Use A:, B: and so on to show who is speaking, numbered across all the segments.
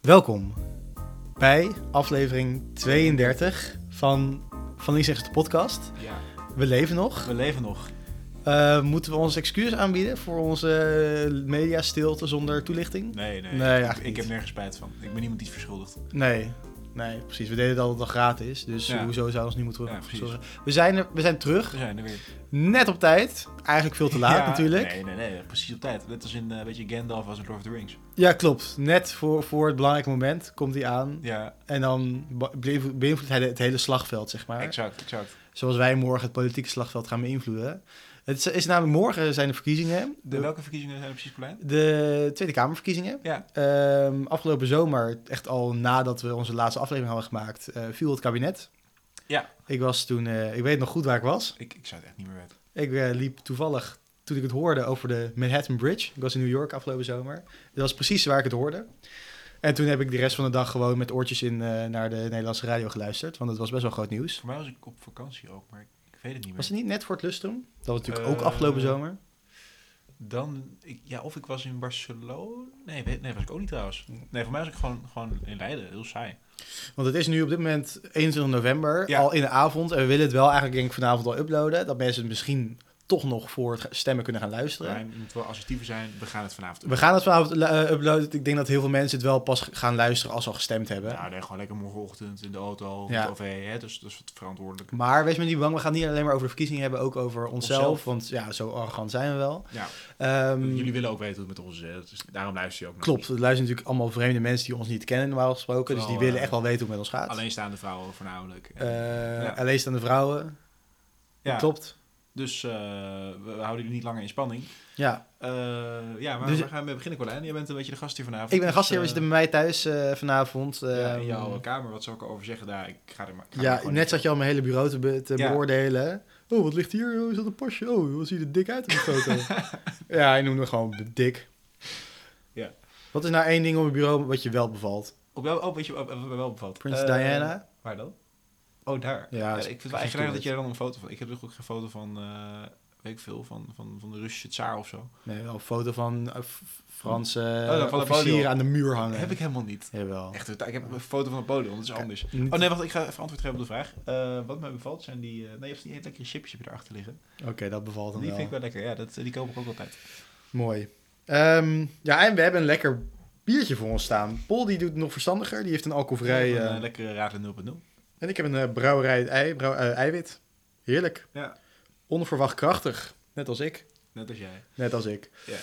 A: Welkom bij aflevering 32 van Van Lies Zegt de podcast.
B: Ja,
A: We leven nog.
B: we leven nog.
A: Eh, moeten we ons excuus aanbieden voor onze eh, mediastilte zonder toelichting?
B: Nee,
A: Nee,
B: nee. ik,
A: eigenlijk
B: ik
A: niet.
B: heb nergens spijt van. Ik ben niemand iets verschuldigd.
A: Nee, nee, precies. We deden dat het al gratis, dus
B: Ja.
A: hoezo zou ons nu moeten
B: Ja, precies.
A: zorgen? We zijn, er, we zijn terug,
B: We zijn er weer.
A: net op tijd. Eigenlijk veel te laat
B: Ja,
A: natuurlijk.
B: Nee, nee, nee. Precies op tijd. Net als in, eh, weet je, Gandalf was in Lord of the Rings.
A: Ja, klopt. Net voor, voor het belangrijke moment komt hij aan.
B: Ja,
A: En dan be- beïnvloedt hij de- het hele slagveld, zeg maar.
B: exact, exact.
A: zoals wij morgen het politieke slagveld gaan beïnvloeden. Het is, is namelijk morgen zijn de verkiezingen.
B: De,
A: De,
B: welke verkiezingen zijn er precies Colijn?
A: de Tweede Kamerverkiezingen.
B: Ja.
A: Ehm, afgelopen zomer, echt al nadat we onze laatste aflevering hadden gemaakt, eh, viel het kabinet.
B: Ja.
A: Ik was toen, eh, ik weet nog goed waar ik was.
B: Ik, ik zou het echt niet meer weten.
A: Ik eh, liep toevallig, toen ik het hoorde, over de Manhattan Bridge. Ik was in New York afgelopen zomer. Dat was precies waar ik het hoorde. En toen heb ik de rest van de dag gewoon met oortjes in eh, naar de Nederlandse radio geluisterd. Want het was best wel groot nieuws.
B: Voor mij was ik op vakantie ook, maar ik, ik weet het niet
A: Was
B: meer.
A: het niet net voor het lustrum? Dat was natuurlijk ook
B: Eh,
A: afgelopen zomer.
B: Dan, ik, ja, of ik was in Barcelona. Nee, weet, nee, was ik ook niet trouwens. Nee, voor mij was ik gewoon, gewoon in Leiden. Heel saai.
A: Want het is nu op dit moment 21 november,
B: Ja.
A: al in de avond. En we willen het wel eigenlijk denk ik vanavond al uploaden. Dat mensen het misschien toch nog voor het stemmen kunnen gaan luisteren.
B: Rijn, je moet wel assertiever zijn. We gaan het vanavond doen.
A: We gaan het vanavond eh, uploaden. Ik denk dat heel veel mensen het wel pas gaan luisteren als ze al gestemd hebben.
B: Nou, nee, gewoon lekker morgenochtend in de auto. Of
A: Ja.
B: ja. OV, hè, dus dat is verantwoordelijk.
A: Maar wees maar niet bang, we gaan het niet alleen maar over de verkiezingen hebben, ook over onszelf.
B: Onszelf.
A: Want ja, zo arrogant zijn we wel.
B: Ja.
A: Ehm,
B: Jullie willen ook weten hoe het met ons is. hè. Dus daarom luister je ook naar
A: Klopt, er luisteren natuurlijk allemaal vreemde mensen die ons niet kennen normaal gesproken. Dus die
B: Wel,
A: willen
B: eh,
A: echt wel weten hoe het met ons gaat.
B: ons. Alleenstaande vrouwen voornamelijk.
A: Eh,
B: Ja.
A: Alleen staan de vrouwen.
B: ja,
A: Klopt.
B: Dus eh, we, we houden jullie niet langer in spanning.
A: Ja,
B: Eh, ja, maar
A: Dus-
B: waar gaan we mee beginnen, Colijn? Jij bent een beetje de gast hier vanavond.
A: ik ben gastheer, we
B: Dus,
A: zitten bij mij thuis eh, vanavond.
B: eh, ja,
A: Ehm,
B: in jouw kamer, wat zou ik erover zeggen? Daar, ik ga er maar. ik ga er
A: Ja,
B: gewoon
A: net
B: niet-
A: zat je al mijn hele bureau te, be- te
B: Ja.
A: beoordelen. Oh, wat ligt hier? Oh, is dat een pasje? Oh, wat ziet er dik uit op de foto? ja, hij noemde me gewoon dik.
B: Ja.
A: Wat is nou één ding op het bureau wat je wel bevalt?
B: Op wel, oh, weet je, op, op- op- wel bevat.
A: Prinses
B: Eh,
A: Diana?
B: Waar dan? Oh, daar.
A: Ja,
B: Ja,
A: dat
B: ik
A: is-
B: vind het
A: dat
B: wel
A: is
B: eigenlijk dat
A: stoer.
B: jij dan een foto van. Ik heb er ook een foto van. eh, weet ik veel, van, van, van de Russische tsaar of zo.
A: Nee, wel een foto van eh, F- Franse
B: Oh, van
A: eh,
B: Napoleon.
A: officieren aan de muur hangen.
B: Heb ik helemaal niet.
A: Jawel.
B: Echt, ik heb een foto van Napoleon, dat is anders.
A: Niet-
B: Oh nee, wacht, ik ga even antwoord geven op de vraag. Eh, wat mij bevalt zijn die... eh nee, je hebt van die hele lekkere chips heb je erachter liggen.
A: Oké, dat bevalt
B: Die
A: hem wel.
B: vind ik wel lekker, ja. Dat, die koop ik ook altijd.
A: Mooi. Ehm, ja, en we hebben een lekker biertje voor ons staan. Paul die doet het nog verstandiger. Die heeft een alcoholvrij...
B: Een
A: eh,
B: eh, lekkere Radler 0.0.
A: En ik heb een eh, brouwerij ei, brou- eh, eiwit. Heerlijk.
B: Ja.
A: Onverwacht krachtig. Net als ik.
B: Net als jij.
A: Net als ik.
B: Ja.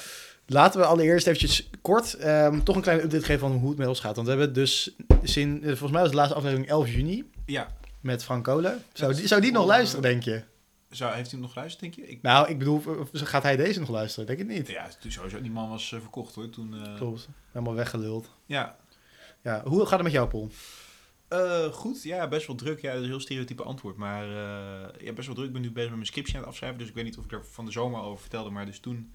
A: Laten we allereerst eventjes kort ehm, toch een kleine update geven van hoe het met ons gaat. Want we hebben het dus sinds, eh, volgens mij was de laatste aflevering 11 juni
B: Ja.
A: met Frank Kolen. Zou
B: dat
A: die,
B: is
A: zou die nog
B: voor,
A: luisteren, denk je?
B: Zou, heeft hij hem nog geluisterd, denk je? Ik,
A: Nou, ik bedoel, eh, gaat hij deze nog luisteren? Denk ik niet.
B: ja, het is sowieso. Die man was eh, verkocht, hoor. Toen, eh,
A: Klopt. Helemaal weggeluld.
B: Ja.
A: Ja, hoe gaat het met jou, Paul?
B: Eh, goed, ja, best wel druk. Ja, dat is een heel stereotype antwoord. Maar eh, ja, best wel druk. Ik ben nu bezig met mijn scriptie aan het afschrijven. Dus ik weet niet of ik daar van de zomer over vertelde. Maar dus toen...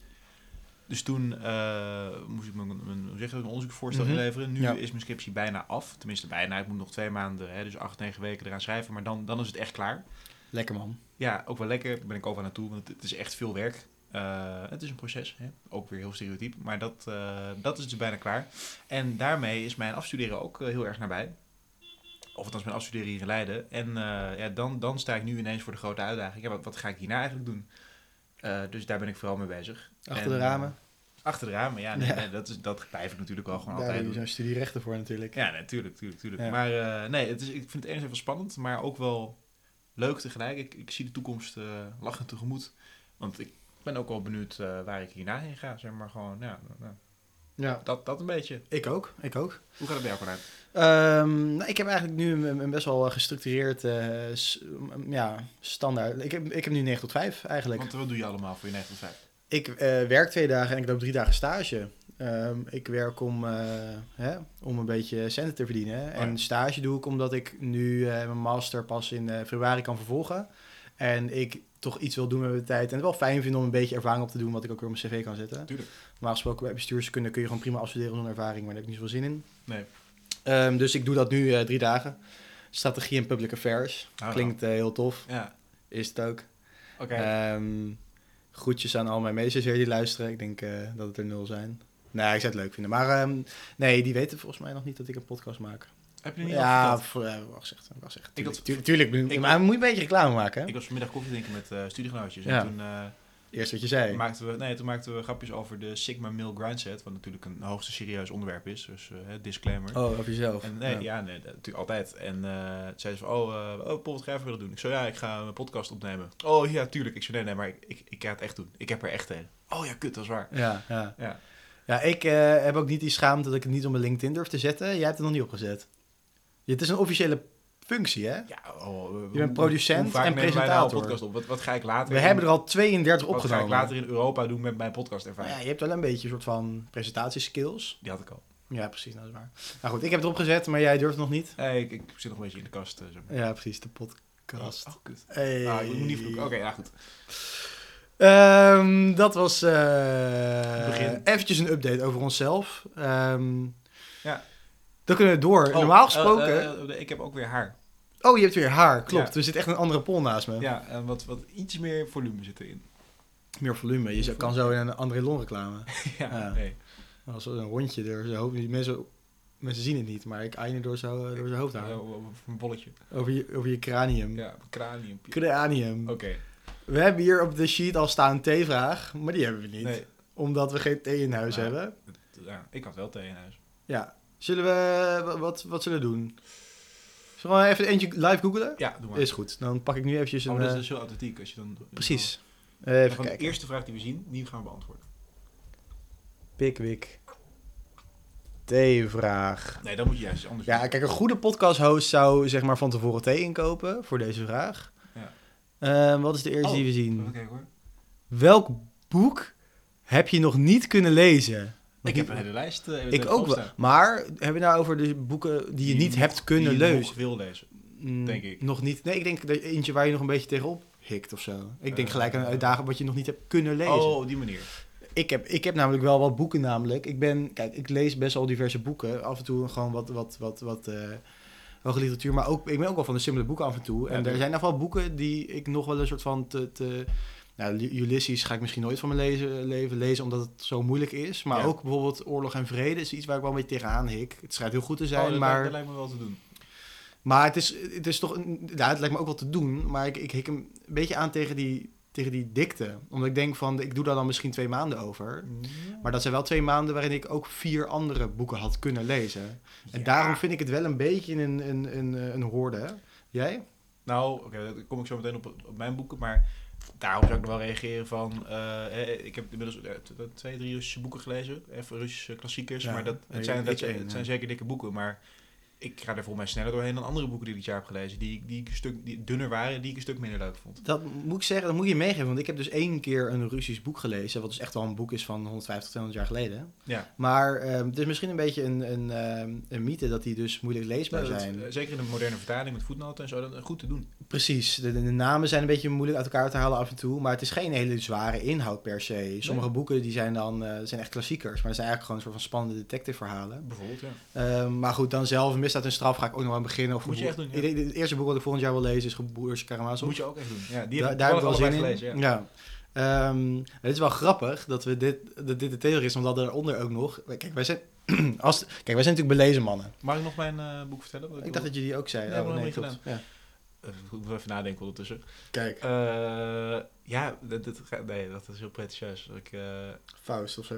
B: Dus toen eh, moest ik mijn, mijn, hoe zeg je dat, mijn onderzoeksvoorstel
A: Mhm.
B: inleveren. Nu
A: Ja.
B: is mijn scriptie bijna af. Tenminste, bijna. Ik moet nog twee maanden, hè, dus acht, negen weken eraan schrijven. Maar dan, dan is het echt klaar.
A: Lekker man.
B: Ja, ook wel lekker. Daar ben ik over aan naartoe. Want het, het is echt veel werk. Eh, het is een proces. Hè? Ook weer heel stereotyp. Maar dat, eh, dat is dus bijna klaar. En daarmee is mijn afstuderen ook eh, heel erg nabij. Of althans mijn afstuderen hier in Leiden. En eh, ja, dan, dan sta ik nu ineens voor de grote uitdaging. Ja, wat, wat ga ik hierna eigenlijk doen? Eh, dus daar ben ik vooral mee bezig.
A: Achter
B: En,
A: de ramen.
B: Achter de ramen, ja. Nee,
A: Ja.
B: nee, dat, is, dat blijf ik natuurlijk wel gewoon
A: Daar
B: altijd
A: heb je
B: doen.
A: zo'n studierechten voor natuurlijk.
B: Ja, natuurlijk, tuurlijk, tuurlijk.
A: Ja.
B: Maar eh, nee, het is, ik vind het ergens even spannend, maar ook wel leuk tegelijk. Ik, ik zie de toekomst eh lachend tegemoet. Want ik ben ook wel benieuwd eh, waar ik hierna heen ga. Zeg maar gewoon, ja, nou,
A: ja.
B: dat, dat een beetje.
A: Ik ook. Ik ook.
B: Hoe gaat het bij jou vanuit?
A: Ehm, nou, ik heb eigenlijk nu een, een best wel eh, gestructureerd eh, s- m- ja, standaard. Ik heb, ik heb nu 9 tot 5 eigenlijk.
B: Want wat doe je allemaal voor je 9 tot 5?
A: Ik eh, werk twee dagen en ik loop drie dagen stage. Ehm, ik werk om, eh, hè, om een beetje centen te verdienen.
B: Oh
A: En stage doe ik omdat ik nu eh, mijn master pas in eh, februari kan vervolgen. En ik toch iets wil doen met mijn tijd. En het wel fijn vind om een beetje ervaring op te doen, wat ik ook weer op mijn cv kan zetten.
B: Tuurlijk.
A: Normaal gesproken bij bestuurskunde kun je gewoon prima afstuderen zonder ervaring, maar daar heb ik niet zoveel zin in.
B: Nee.
A: Ehm, dus ik doe dat nu eh, drie dagen. Strategie en public affairs.
B: Ah,
A: Klinkt eh, heel tof.
B: Ja,
A: Is het ook.
B: oké.
A: Ehm groetjes aan al mijn meesters weer die luisteren. Ik denk eh, dat eh, het er nul zijn. Nee, ik zou het leuk vinden. Maar ehm, nee, die weten volgens mij nog niet dat ik een podcast maak.
B: Heb je er niet over
A: Ja,
B: verteld?
A: voor, eh, wacht echt. Wacht echt.
B: Ik
A: Tuurlijk,
B: had-
A: tuur- tuurlijk,
B: ik-
A: maar moet je een beetje reclame maken. Hè?
B: Ik was vanmiddag koffie drinken met eh studiegenootjes.
A: Ja.
B: En toen, eh,
A: Eerst wat je zei.
B: maakten we, nee, toen maakten we grapjes over de Sigma Mill Grindset. Wat natuurlijk een hoogste serieus onderwerp is. Dus eh, disclaimer.
A: Oh, over jezelf.
B: En nee,
A: Ja.
B: ja. nee, dat- natuurlijk altijd. En eh zei ze van, oh, eh oh Paul, wat ga je even willen doen? Ik zo, ja, ik ga mijn podcast opnemen. Oh, ja, tuurlijk. Ik zo, nee, nee, maar ik, ik, ik ga het echt doen. Ik heb er echt een. Oh ja, kut, dat is waar.
A: Ja, ja.
B: Ja.
A: ja ik eh, heb ook niet die schaamte dat ik het niet op mijn LinkedIn durf te zetten. Jij hebt het nog niet opgezet. Het is een officiële functie, hè?
B: ja oh, eh, hoe-
A: bent producent
B: hoe vaak
A: en
B: nemen wij nou
A: presentator.
B: een podcast op? Wat, wat ga ik later
A: We
B: in-
A: hebben er al 32
B: Wat ga ik
A: opgenomen.
B: later in Europa doen met mijn
A: Maar
B: podcastervaring?
A: Ja, je hebt wel een beetje een soort van presentatieskills.
B: Die had ik al.
A: Ja, precies. Nou, dat is waar. Nou goed, ik heb het opgezet, maar jij durft nog niet.
B: Hey, ik, ik zit nog een beetje in de kast. eh, zeg maar.
A: Ja, precies. De podcast.
B: Oh, oh, kut.
A: Hey.
B: Ah, ik moet niet vloeken. Oké, nou goed.
A: Ehm, dat was eh
B: Begin.
A: eventjes een update over onszelf. Ehm,
B: Ja.
A: Dan kunnen we door.
B: Oh,
A: Normaal gesproken...
B: eh, eh, eh, ik heb ook weer haar.
A: oh, je hebt weer haar. Klopt.
B: Ja.
A: Er zit echt een andere pol naast me.
B: Ja, en wat, wat iets meer volume zit erin.
A: Meer volume. Je zou- kan zo in een André Lon reclame.
B: ja,
A: Ja.
B: nee.
A: Als een rondje door zijn hoofd. die Mensen, mensen zien het niet, maar ik eind door zijn, door zijn hoofd houden.
B: Zo, eh, Een bolletje.
A: Over je, over je cranium.
B: Ja, een kraniumpje.
A: Cranium.
B: Oké.
A: We hebben hier op de sheet al staan T-vraag, maar die hebben we niet.
B: Nee,
A: Omdat we geen thee in huis
B: Ah.
A: hebben.
B: ja, ik had wel thee in huis.
A: Ja. Zullen we... wa- Wat, wat zullen we doen? Zullen we even eentje live googlen?
B: Ja, doe maar.
A: Is goed. Dan pak ik nu eventjes een...
B: oh, dat
A: eh,
B: is oh. zo authentiek als je dan...
A: Precies. Eh,
B: Ja,
A: Even
B: gewoon de
A: kijken.
B: eerste vraag die we zien, die gaan we beantwoorden.
A: Pickwick. T-vraag.
B: Nee, dat moet je juist iets anders
A: Ja,
B: doen.
A: kijk, een goede podcast-host zou zeg maar van tevoren thee inkopen voor deze vraag.
B: Ja.
A: Ehm, wat is de eerste
B: Oh.
A: die we zien?
B: Even kijken hoor.
A: Welk boek heb je nog niet kunnen lezen?
B: Ik heb een hele lijst. eh,
A: Ik
B: even
A: ook wel.
B: opstaan.
A: Maar hebben we nou over de boeken die je niet
B: nog-
A: hebt kunnen
B: die je nog
A: lezen?
B: wil lezen.
A: Mm,
B: denk ik.
A: Nog niet. Nee, ik denk dat eentje waar je nog een beetje tegenop hikt of zo. Ik denk
B: Eh,
A: gelijk aan een uitdaging wat je nog niet hebt kunnen lezen.
B: Oh, op die manier.
A: Ik, heb, ik heb namelijk wel wat boeken namelijk. Ik ben, kijk, ik lees best wel diverse boeken. Af en toe gewoon wat, wat, wat, wat eh hoge literatuur. Maar ook, ik ben ook wel van de simpele boeken af en toe.
B: Ja,
A: En er
B: tuurlijk.
A: zijn nog wel boeken die ik nog wel een soort van te... te nou, Ulysses Ulysses ga ik misschien nooit van mijn lezen, leven lezen, omdat het zo moeilijk is. Maar
B: Ja.
A: ook bijvoorbeeld Oorlog en Vrede is iets waar ik wel een beetje tegenaan hik. Het schijnt heel goed te
B: oh,
A: zijn,
B: dat,
A: maar...
B: lijkt, dat lijkt me wel te doen.
A: Maar het is, het is toch. Een, ja, het lijkt me ook wel te doen. Maar ik, ik hik hem een beetje aan tegen die, tegen die dikte. Omdat ik denk van. Ik doe daar dan misschien twee maanden over. Maar dat zijn wel twee maanden waarin ik ook vier andere boeken had kunnen lezen. En
B: Ja.
A: daarom vind ik het wel een beetje een, een, een, een hoorde. Jij?
B: Nou, oké, daar kom ik zo meteen op, op mijn boeken, maar daarom zou ik nog wel reageren van... eh, eh, ik heb inmiddels eh, t- t- twee, drie Russische boeken gelezen, even Russische klassiekers,
A: Ja,
B: maar dat,
A: ik-
B: het, zijn,
A: ik
B: dat, zijn-
A: één,
B: het
A: ja.
B: zijn zeker dikke boeken, maar ik ga er volgens mij sneller doorheen dan andere boeken die ik dit jaar heb gelezen, die, ik- die, ik een stuk die dunner waren, die ik een stuk minder leuk vond.
A: Dat moet ik zeggen, dat moet je meegeven. Want ik heb dus één keer een Russisch boek gelezen. Wat dus echt wel een boek is van 150, 200 jaar geleden.
B: Ja.
A: Maar ehm, het is misschien een beetje een, een, ehm, een mythe dat die dus moeilijk leesbaar
B: Dat- dat-
A: zijn.
B: eh, zeker in de moderne vertaling met voetnoten en zo, dat is goed te doen.
A: Precies, de, de namen zijn een beetje moeilijk uit elkaar te halen af en toe, maar het is geen hele zware inhoud per se. Sommige boeken die zijn dan eh, zijn echt klassiekers, maar dat zijn eigenlijk gewoon een soort van spannende detective verhalen. Ehm,
B: Bijvoorbeeld, ja.
A: maar goed, dan zelf, misdaad en straf ga ik ook nog aan beginnen. Of
B: Moet je
A: Geboer-
B: echt doen, ja.
A: Ik denk, Het eerste boek wat ik volgend jaar wil lezen is Geboers
B: Dat
A: Karamazov.
B: moet je ook echt doen. Ja, die
A: Da-
B: heb ik
A: daar heb ik wel
B: toevallig
A: zin in.
B: allebei gelezen, ja.
A: ja. Ehm, het is wel grappig dat, we dit, dat dit de theorie is, omdat daaronder ook nog... Kijk, wij zijn, als, kijk, wij zijn natuurlijk belezen mannen.
B: Mag ik nog mijn eh, boek vertellen? Wat
A: Ik dacht dat je die ook zei.
B: Nee,
A: Oh,
B: maar dat heb ik
A: klopt. Ja.
B: Eh, Ik moet even nadenken ondertussen.
A: Kijk,
B: Eh, ja, dat, dat, ga- nee, dat is heel pretentieus. Ik, eh,
A: Faust of zo.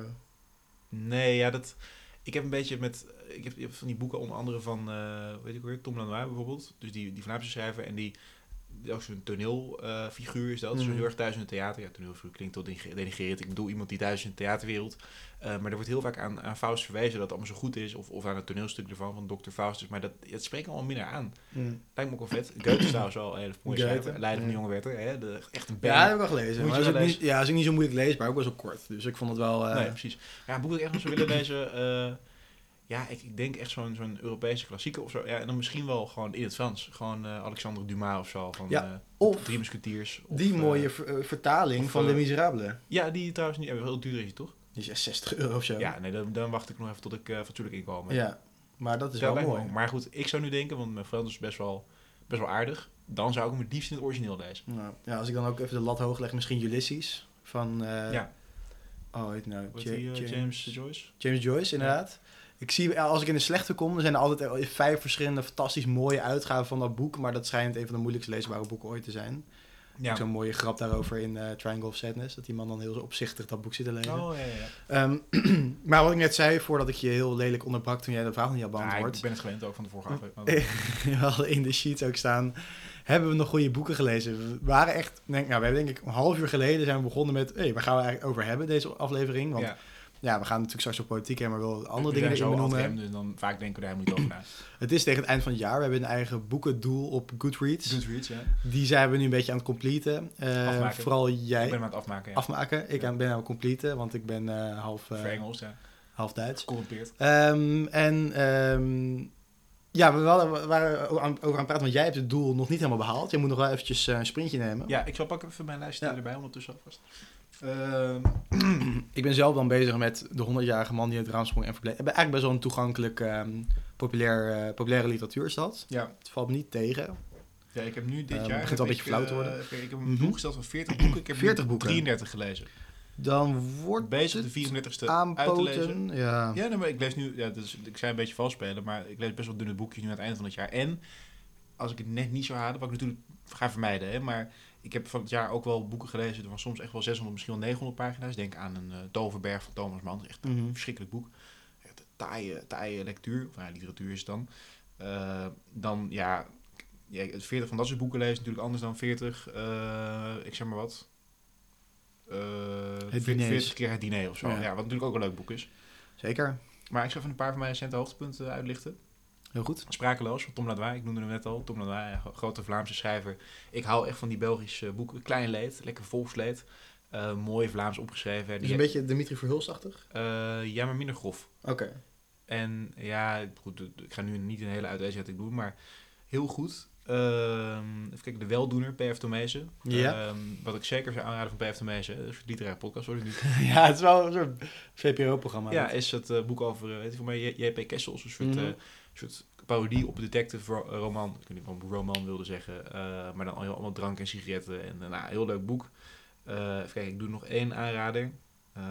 B: nee, ja, dat... Ik heb een beetje met... Ik heb, ik heb van die boeken onder andere van, eh, weet ik weer, Tom Lanois bijvoorbeeld. Dus die, die Vlaamse schrijver. En die, die ook zo'n toneelfiguur is dat. Dus
A: Mhm.
B: heel erg thuis in het theater. Ja, toneelfiguur klinkt tot denigrerend. Ik bedoel iemand die thuis is in de theaterwereld. Eh, maar er wordt heel vaak aan, aan Faust verwezen dat het allemaal zo goed is. Of, of aan het toneelstuk ervan van Dr. Faustus. Maar dat, dat spreekt allemaal minder aan.
A: Mm.
B: Lijkt me ook wel vet. Goethe is trouwens wel een hele mooie
A: Goethe,
B: schrijver. Leider van de
A: ja.
B: jonge wetter. Hè? De, echt een
A: Ja, dat
B: band.
A: heb ik wel gelezen.
B: Moet
A: maar
B: je
A: dat is
B: wel
A: ook niet, ja, is ook niet zo moeilijk leesbaar, ook wel zo kort. Dus ik vond het wel... eh,
B: nee, precies. Ja, een boek dat ik echt nog zou willen lezen. eh, ja, ik, ik denk echt zo'n zo'n Europese klassieker of zo. Ja, en dan misschien wel gewoon in het Frans. Gewoon eh, Alexandre Dumas of zo. Van,
A: Ja,
B: eh,
A: of
B: Drie Musketeers. of,
A: die
B: eh,
A: mooie ver- eh, vertaling
B: of,
A: van
B: eh,
A: Les Misérables.
B: ja, die trouwens niet. Ja, heel duur is die toch?
A: Die is echt 60 euro of zo.
B: Ja, nee, dan, dan wacht ik nog even tot ik eh fatsoenlijk inkomen. heb.
A: Ja, maar dat is
B: Dat
A: wel
B: lijkt me
A: mooi.
B: ook. Maar goed, ik zou nu denken, want mijn Frans is best wel, best wel aardig. Dan zou ik hem het liefst in het origineel lezen.
A: Ja. Ja, als ik dan ook even de lat hoog leg, misschien Ulysses van eh
B: Ja.
A: Oh, heet nou.
B: Hoe
A: Ja-
B: heet die, eh,
A: James,
B: James Joyce?
A: James Joyce, inderdaad. Ik zie, eh, als ik in de slechte kom, dan zijn er altijd al vijf verschillende fantastisch mooie uitgaven van dat boek. Maar dat schijnt een van de moeilijkst leesbare boeken ooit te zijn.
B: Ja.
A: Zo'n mooie grap daarover in eh, Triangle of Sadness. Dat die man dan heel opzichtig dat boek zit te lezen.
B: Oh, ja, ja, ja.
A: Ehm, maar wat ik net zei, voordat ik je heel lelijk onderbrak toen jij de vraag niet had
B: Nou,
A: beantwoord.
B: ik ben het gewend ook van de
A: Hm.
B: vorige aflevering. maar-
A: we hadden in de sheets ook staan. Hebben we nog goede boeken gelezen? We waren echt, denk, nou, we hebben denk ik een half uur geleden zijn we begonnen met, hey, waar gaan we eigenlijk over hebben deze aflevering? Want ja,
B: ja.
A: we gaan natuurlijk straks op politiek hebben, maar wel andere
B: We
A: dingen
B: zijn
A: erin
B: zo
A: benoemen.
B: ad-rem, dus dan vaak denken we daar helemaal niet over na.
A: Het is tegen het eind van het jaar. We hebben een eigen boekendoel op Goodreads.
B: Goodreads, ja.
A: Die zijn we nu een beetje aan het completen. Eh,
B: Afmaken.
A: vooral
B: Ik
A: jij
B: ben hem aan het afmaken, ja.
A: afmaken. Ik
B: Ja.
A: aan- ben aan het completen, want ik ben eh, half, eh,
B: Voor Engels, ja.
A: half Duits.
B: Gecorrumpeerd.
A: Ehm, en ehm, ja, we waren, we waren ook aan, over aan het praten, want jij hebt het doel nog niet helemaal behaald. Je moet nog wel eventjes eh, een sprintje nemen.
B: Ja, ik zal pakken even mijn lijstje
A: Ja.
B: erbij ondertussen alvast. Ehm,
A: Ik ben zelf dan bezig met de 100-jarige man die uit het raam sprong en verbleef. Ik ben eigenlijk best wel een toegankelijk, ehm, populair, eh, populaire literatuur is dat.
B: ja.
A: Het valt me niet tegen.
B: ja, ik heb nu dit
A: Eh, het
B: jaar...
A: begint al
B: heb
A: een beetje
B: ik,
A: flauw te
B: eh,
A: worden.
B: even- ik heb
A: Mhm.
B: een doel gesteld van 40 boeken. Ik heb
A: 40
B: 40
A: boeken.
B: 33 gelezen.
A: Dan wordt
B: Bezig de
A: het
B: 34ste uit te lezen.
A: aanpoten. Ja.
B: Ja, nee, maar ik lees nu... Ja, dus, ik zei een beetje valspelen, maar ik lees best wel dunne boekjes nu aan het einde van het jaar. En als ik het net niet zou halen, wat ik natuurlijk ga vermijden, hè, maar... Ik heb van het jaar ook wel boeken gelezen van soms echt wel 600, misschien wel 900 pagina's. Denk aan een eh, Toverberg van Thomas Mann. Echt
A: Mhm.
B: Een verschrikkelijk boek. Echt een taaie, taaie lectuur, of nou, literatuur is het dan. Eh, dan, ja, ja, het 40 van dat soort boeken lezen is natuurlijk anders dan 40, eh, ik zeg maar wat. Eh, veert-
A: diner is-
B: 40 keer het diner of zo.
A: Ja.
B: Ja. wat natuurlijk ook een leuk boek is.
A: Zeker.
B: Maar ik zal even een paar van mijn recente hoogtepunten uitlichten.
A: Heel goed.
B: Sprakeloos van Tom Ladois, ik noemde hem net al. Tom Ladois, een gro- grote Vlaamse schrijver. Ik hou echt van die Belgische boeken. Klein leed, lekker volksleed. Eh, mooi Vlaams opgeschreven.
A: Dus
B: Die-
A: een beetje Dimitri Verhulstachtig.
B: eh, ja, maar minder grof.
A: Oké.
B: En ja, goed, ik ga nu niet een hele uiteenzetting doen, maar heel goed. Ehm, even kijken, De Weldoener, P.F. Tomezen.
A: Ja.
B: Ehm, wat ik zeker zou aanraden van P.F. Tomezen, dat is een literaire podcast, hoor ik nu.
A: ja, het is wel een soort VPRO-programma.
B: ja, is het eh, boek over, eh, weet je, voor mij, J- J.P. Kessels, een soort,
A: Mhm.
B: eh, soort parodie op detective ro- eh, roman. Ik weet niet of ik roman wilde zeggen, eh, maar dan allemaal drank en sigaretten. En eh, nou, heel leuk boek. Eh even kijken, ik doe nog één aanrader. Eh,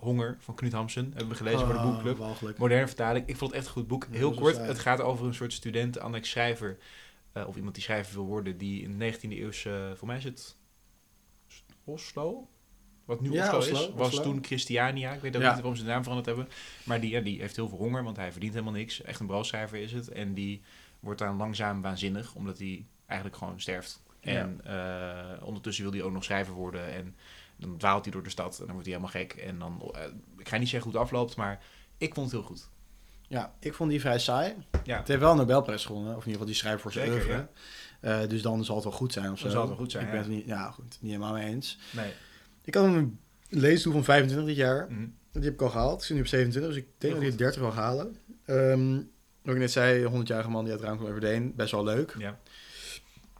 B: Honger van Knut Hamsen, hebben we gelezen
A: Oh,
B: voor de boekclub.
A: Walgelijk.
B: Moderne vertaling. Ik vond het echt een goed boek.
A: Ja,
B: Heel
A: dat is
B: kort.
A: saai.
B: Het gaat over een soort student, annex schrijver. eh, of iemand die schrijver wil worden. Die in de 19e eeuwse... Voor mij is het Oslo? Wat nu
A: Ja,
B: Oslo,
A: Oslo,
B: is. Was
A: Oslo.
B: toen Christiania. Ik weet ook
A: Ja.
B: niet waarom ze de naam veranderd hebben. Maar die, ja, die heeft heel veel honger. Want hij verdient helemaal niks. Echt een broodschrijver is het. En die wordt dan langzaam waanzinnig. Omdat hij eigenlijk gewoon sterft. En eh, ondertussen wil hij ook nog schrijver worden. En dan dwaalt hij door de stad. En dan wordt hij helemaal gek. En dan... eh, ik ga niet zeggen hoe het afloopt. Maar ik vond het heel goed.
A: Ja, ik vond die vrij saai.
B: Ja.
A: Het heeft wel een Nobelprijs gewonnen. Of in ieder geval die schrijft voor zijn
B: Zeker,
A: oeuvre. Eh, dus dan zal het wel goed zijn of zo.
B: Dan zal het wel goed zijn,
A: Ik ben
B: ja.
A: het niet, ja, goed, niet helemaal mee eens.
B: Nee.
A: Ik had een leesdoel van 25 dit jaar.
B: Mhm.
A: Die heb ik al gehaald. Ik zit nu op 27, dus ik denk dat
B: Heel
A: ik
B: goed.
A: 30 wel ga halen. Ehm wat ik net zei, 100-jarige man die uit het raam kwam overdeen. Best wel leuk.
B: Ja.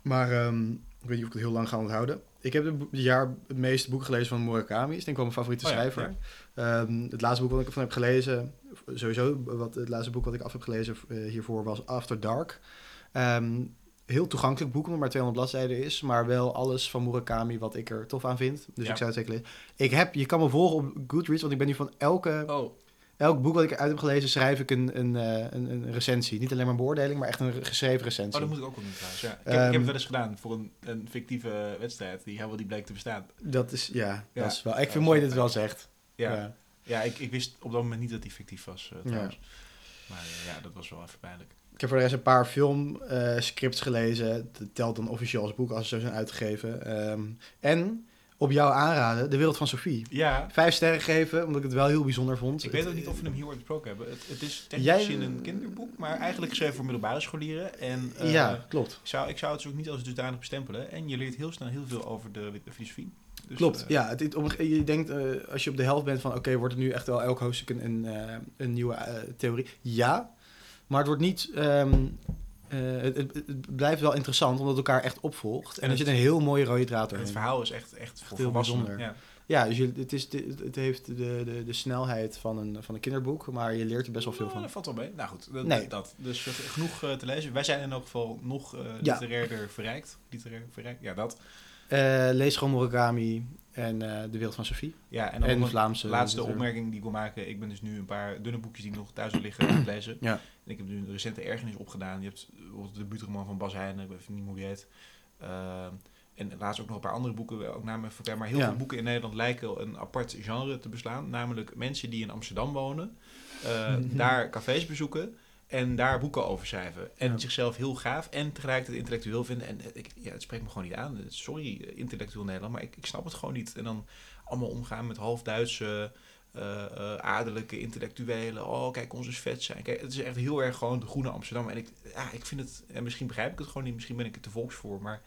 A: Maar ehm, ik weet niet of ik het heel lang ga onthouden. Ik heb dit bo- dit jaar het meeste boek gelezen van Murakami. Is denk ik wel mijn favoriete
B: Oh ja,
A: schrijver. Ehm, het laatste boek wat ik ervan heb gelezen, sowieso wat, het laatste boek wat ik af heb gelezen eh, hiervoor was After Dark. Ehm, heel toegankelijk boek, omdat het maar 200 bladzijden is. Maar wel alles van Murakami wat ik er tof aan vind. Dus
B: Ja.
A: ik zou het zeker lezen. Ik heb, je kan me volgen op Goodreads, want ik ben nu van elke,
B: Oh,
A: elk boek wat ik uit heb gelezen, schrijf ik een, een, eh, een, een recensie. Niet alleen maar een beoordeling, maar echt een re- geschreven
B: oh,
A: recensie.
B: dat moet ik ook wel doen trouwens. Ja. Ik, heb,
A: Ehm,
B: ik heb het wel eens gedaan voor een, een fictieve wedstrijd die helemaal niet bleek te bestaan.
A: Dat is, ja,
B: Ja.
A: dat is wel. Ik vind
B: Ja,
A: het mooi
B: dat
A: dat
B: is
A: het wel zegt.
B: Ja, ja. ik, ik wist op dat moment niet dat die fictief was eh, trouwens. Maar eh, ja, dat was wel even pijnlijk.
A: Ik heb voor de rest een paar filmscripts gelezen. Dat telt dan officieel als boek als ze zo zijn uitgegeven. Ehm, en op jou aanraden, De Wereld van Sophie.
B: Ja,
A: Vijf sterren geven, omdat ik het wel heel bijzonder vond.
B: ik weet ook
A: Het-
B: niet of we hem hier ooit besproken hebben. Het, het is technisch
A: Jij-
B: gezien een kinderboek, maar eigenlijk geschreven voor middelbare scholieren. En eh,
A: Ja, klopt.
B: ik, zou, ik zou het dus ook niet als dusdanig bestempelen. En je leert heel snel heel veel over de, wit- de filosofie. Dus,
A: Klopt,
B: eh,
A: ja. Het, het- op een ge- je denkt, eh, als je op de helft bent van... oké, wordt het nu echt wel elk hoofdstuk een, een, eh, een nieuwe eh, theorie? Ja, maar het wordt niet... ehm, eh, het, het- het blijft wel interessant, omdat het elkaar echt opvolgt. En,
B: En
A: er
B: het-
A: zit een heel mooie rode draad doorheen.
B: het verhaal is echt, echt voor
A: heel
B: volwassenen.
A: bijzonder.
B: Ja.
A: Ja, dus je, het, is, het, het heeft de, de, de snelheid van een, van een kinderboek, maar je leert er best wel veel
B: Nou,
A: van.
B: Dat valt wel mee. Nou goed, dat,
A: Nee.
B: dat. dus eh, genoeg eh, te lezen. Wij zijn in elk geval nog eh
A: Ja.
B: literairder verrijkt. Literair verrijkt, ja dat.
A: Eh, lees gewoon Murakami en eh, De Wereld van Sophie.
B: Ja, en
A: En,
B: dan nog een
A: Vlaamse.
B: laatste
A: literatuur.
B: opmerking die ik wil maken. Ik ben dus nu een paar dunne boekjes die ik nog thuis heb liggen aan het lezen.
A: Ja.
B: En ik heb nu een recente ergernis opgedaan. Je hebt eh, bijvoorbeeld de buurtroman van Bas Heijnen, ik weet even niet hoe die heet. Ehm, en laatst ook nog een paar andere boeken, eh, ook namen verkeerd. Maar heel
A: Ja.
B: veel boeken in Nederland lijken een apart genre te beslaan. Namelijk mensen die in Amsterdam wonen, eh, daar cafés bezoeken en daar boeken over schrijven. En
A: Ja.
B: zichzelf heel gaaf en tegelijkertijd intellectueel vinden. En eh, ik, ja, het spreekt me gewoon niet aan. Sorry, eh, intellectueel Nederland, maar ik, ik snap het gewoon niet. En dan allemaal omgaan met half Duitse, eh, eh, adellijke intellectuelen. Oh, kijk, ons is vet zijn. Kijk, het is echt heel erg gewoon de groene Amsterdam. En ik, ja, ik vind het, en misschien begrijp ik het gewoon niet, misschien ben ik het te volks voor, maar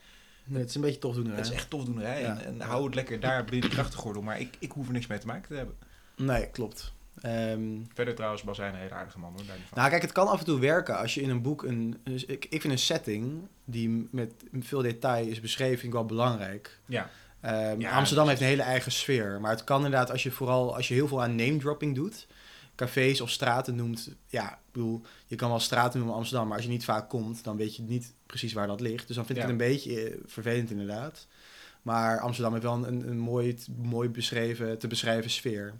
A: Nee, het is een beetje tof doen.
B: het is echt tof doen. Hè?
A: Ja.
B: En, en hou het lekker daar binnen die grachtengordel. Maar ik, ik hoef er niks mee te maken te hebben.
A: Nee, klopt. Ehm,
B: Verder trouwens, Bas zijn een hele aardige man hoor. Daar niet van.
A: nou, kijk, het kan af en toe werken als je in een boek een. dus ik, ik vind een setting die met veel detail is beschreven, vind ik wel belangrijk.
B: ja,
A: Ehm,
B: Ja, dus-
A: Amsterdam heeft een hele eigen sfeer. Maar het kan inderdaad, als je vooral als je heel veel aan name dropping doet, cafés of straten noemt. Ja, ik bedoel, je kan wel straten noemen in Amsterdam, maar als je niet vaak komt, dan weet je niet precies waar dat ligt. Dus dan vind ik
B: Ja.
A: het een beetje eh, vervelend inderdaad. Maar Amsterdam heeft wel een, een mooi, mooi beschreven, te beschrijven sfeer.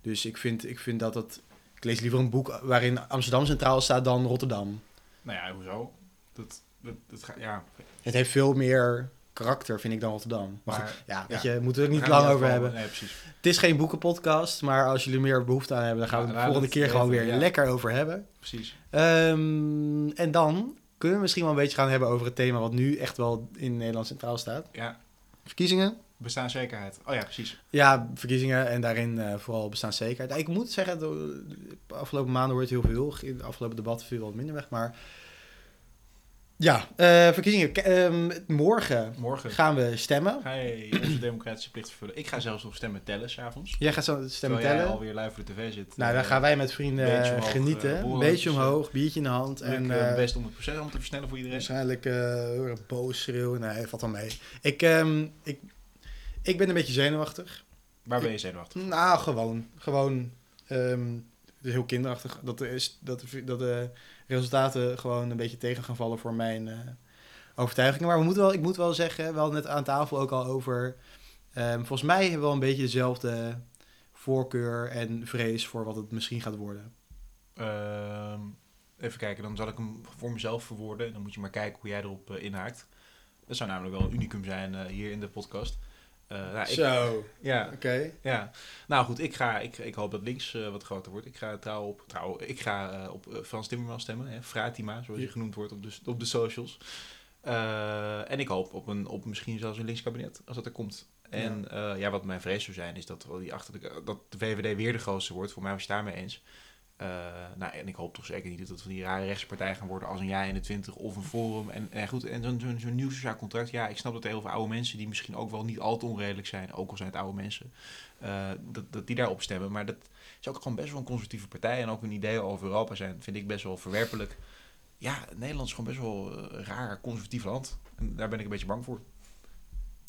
A: Dus ik vind, ik vind dat dat. Ik lees liever een boek waarin Amsterdam centraal staat dan Rotterdam.
B: nou ja, hoezo? Dat, dat, dat gaat, ja.
A: Het heeft veel meer karakter, vind ik, dan Rotterdam. Maar,
B: Maar,
A: goed, ja, weet
B: ja.
A: je, moeten we er
B: We
A: niet
B: gaan
A: lang
B: hier
A: over
B: gewoon-
A: hebben.
B: Nee, precies.
A: Het is geen boekenpodcast, maar als jullie meer behoefte aan hebben, dan gaan we het
B: Ja,
A: de volgende
B: dat
A: keer gewoon
B: weten
A: weer
B: we, ja.
A: lekker over hebben.
B: precies.
A: Ehm, en dan kunnen we misschien wel een beetje gaan hebben over het thema wat nu echt wel in Nederland centraal staat.
B: Ja,
A: Verkiezingen.
B: bestaanszekerheid. Oh ja, precies.
A: Ja, verkiezingen en daarin eh, vooral bestaanszekerheid. Nou, ik moet zeggen, de de afgelopen maanden hoort heel veel. In de afgelopen debatten viel wat minder weg, maar... Ja, eh, verkiezingen. K- ehm, morgen
B: Morgen
A: gaan we stemmen.
B: ga je onze democratische plicht vervullen. Ik ga zelfs nog stemmen tellen s'avonds.
A: Jij gaat zo stemmen
B: Terwijl
A: tellen.
B: jij alweer live voor de tv zit. eh,
A: Nou, dan gaan wij met vrienden
B: Beetje omhoog,
A: genieten.
B: eh,
A: een
B: borreltjes,
A: beetje omhoog, biertje in de hand.
B: En,
A: En
B: ik
A: eh,
B: best om het proces allemaal te versnellen voor iedereen.
A: waarschijnlijk eh, heel erg boos schreeuwen. Nee, valt wel mee. Ik, ehm, ik, ik ben een beetje zenuwachtig.
B: Waar ben je zenuwachtig?
A: Nou, gewoon. Gewoon. ehm, het is heel kinderachtig. Dat, er is, dat, de- dat de resultaten gewoon een beetje tegen gaan vallen voor mijn eh, overtuigingen. Maar we moeten wel, ik moet wel zeggen, we hadden het aan tafel ook al over... ehm, volgens mij hebben we wel een beetje dezelfde voorkeur en vrees voor wat het misschien gaat worden.
B: Ehm, even kijken, dan zal ik hem voor mezelf verwoorden. En dan moet je maar kijken hoe jij erop eh, inhaakt. Dat zou namelijk wel een unicum zijn eh, hier in de podcast. Eh, nou, ik-
A: Zo, oké.
B: ja, ja. Nou goed, ik, ga, ik, ik hoop dat links eh, wat groter wordt. Ik ga trouw op, trouw, ik ga, eh, op eh, Frans Timmermans stemmen. Hè, Fratima, zoals je
A: Ja.
B: genoemd wordt op de, op de socials. Eh, en ik hoop op, een, op misschien zelfs een links kabinet, als dat er komt. En ja, ja wat mijn vrees zou zijn, is dat, wel die achter de, dat de VVD weer de grootste wordt. Voor mij was je daarmee eens. Eh, nou, en ik hoop toch zeker niet dat het van die rare rechtspartijen gaan worden als een Ja in de 20 of een Forum. En, en goed, en zo'n zo'n zo'n nieuw sociaal contract. Ja, ik snap dat er heel veel oude mensen, die misschien ook wel niet al te onredelijk zijn, ook al zijn het oude mensen, eh, dat, dat die daarop stemmen. Maar dat is ook gewoon best wel een conservatieve partij. En ook hun ideeën over Europa zijn, vind ik best wel verwerpelijk. Ja, Nederland is gewoon best wel eh, een raar conservatief land. En daar ben ik een beetje bang voor.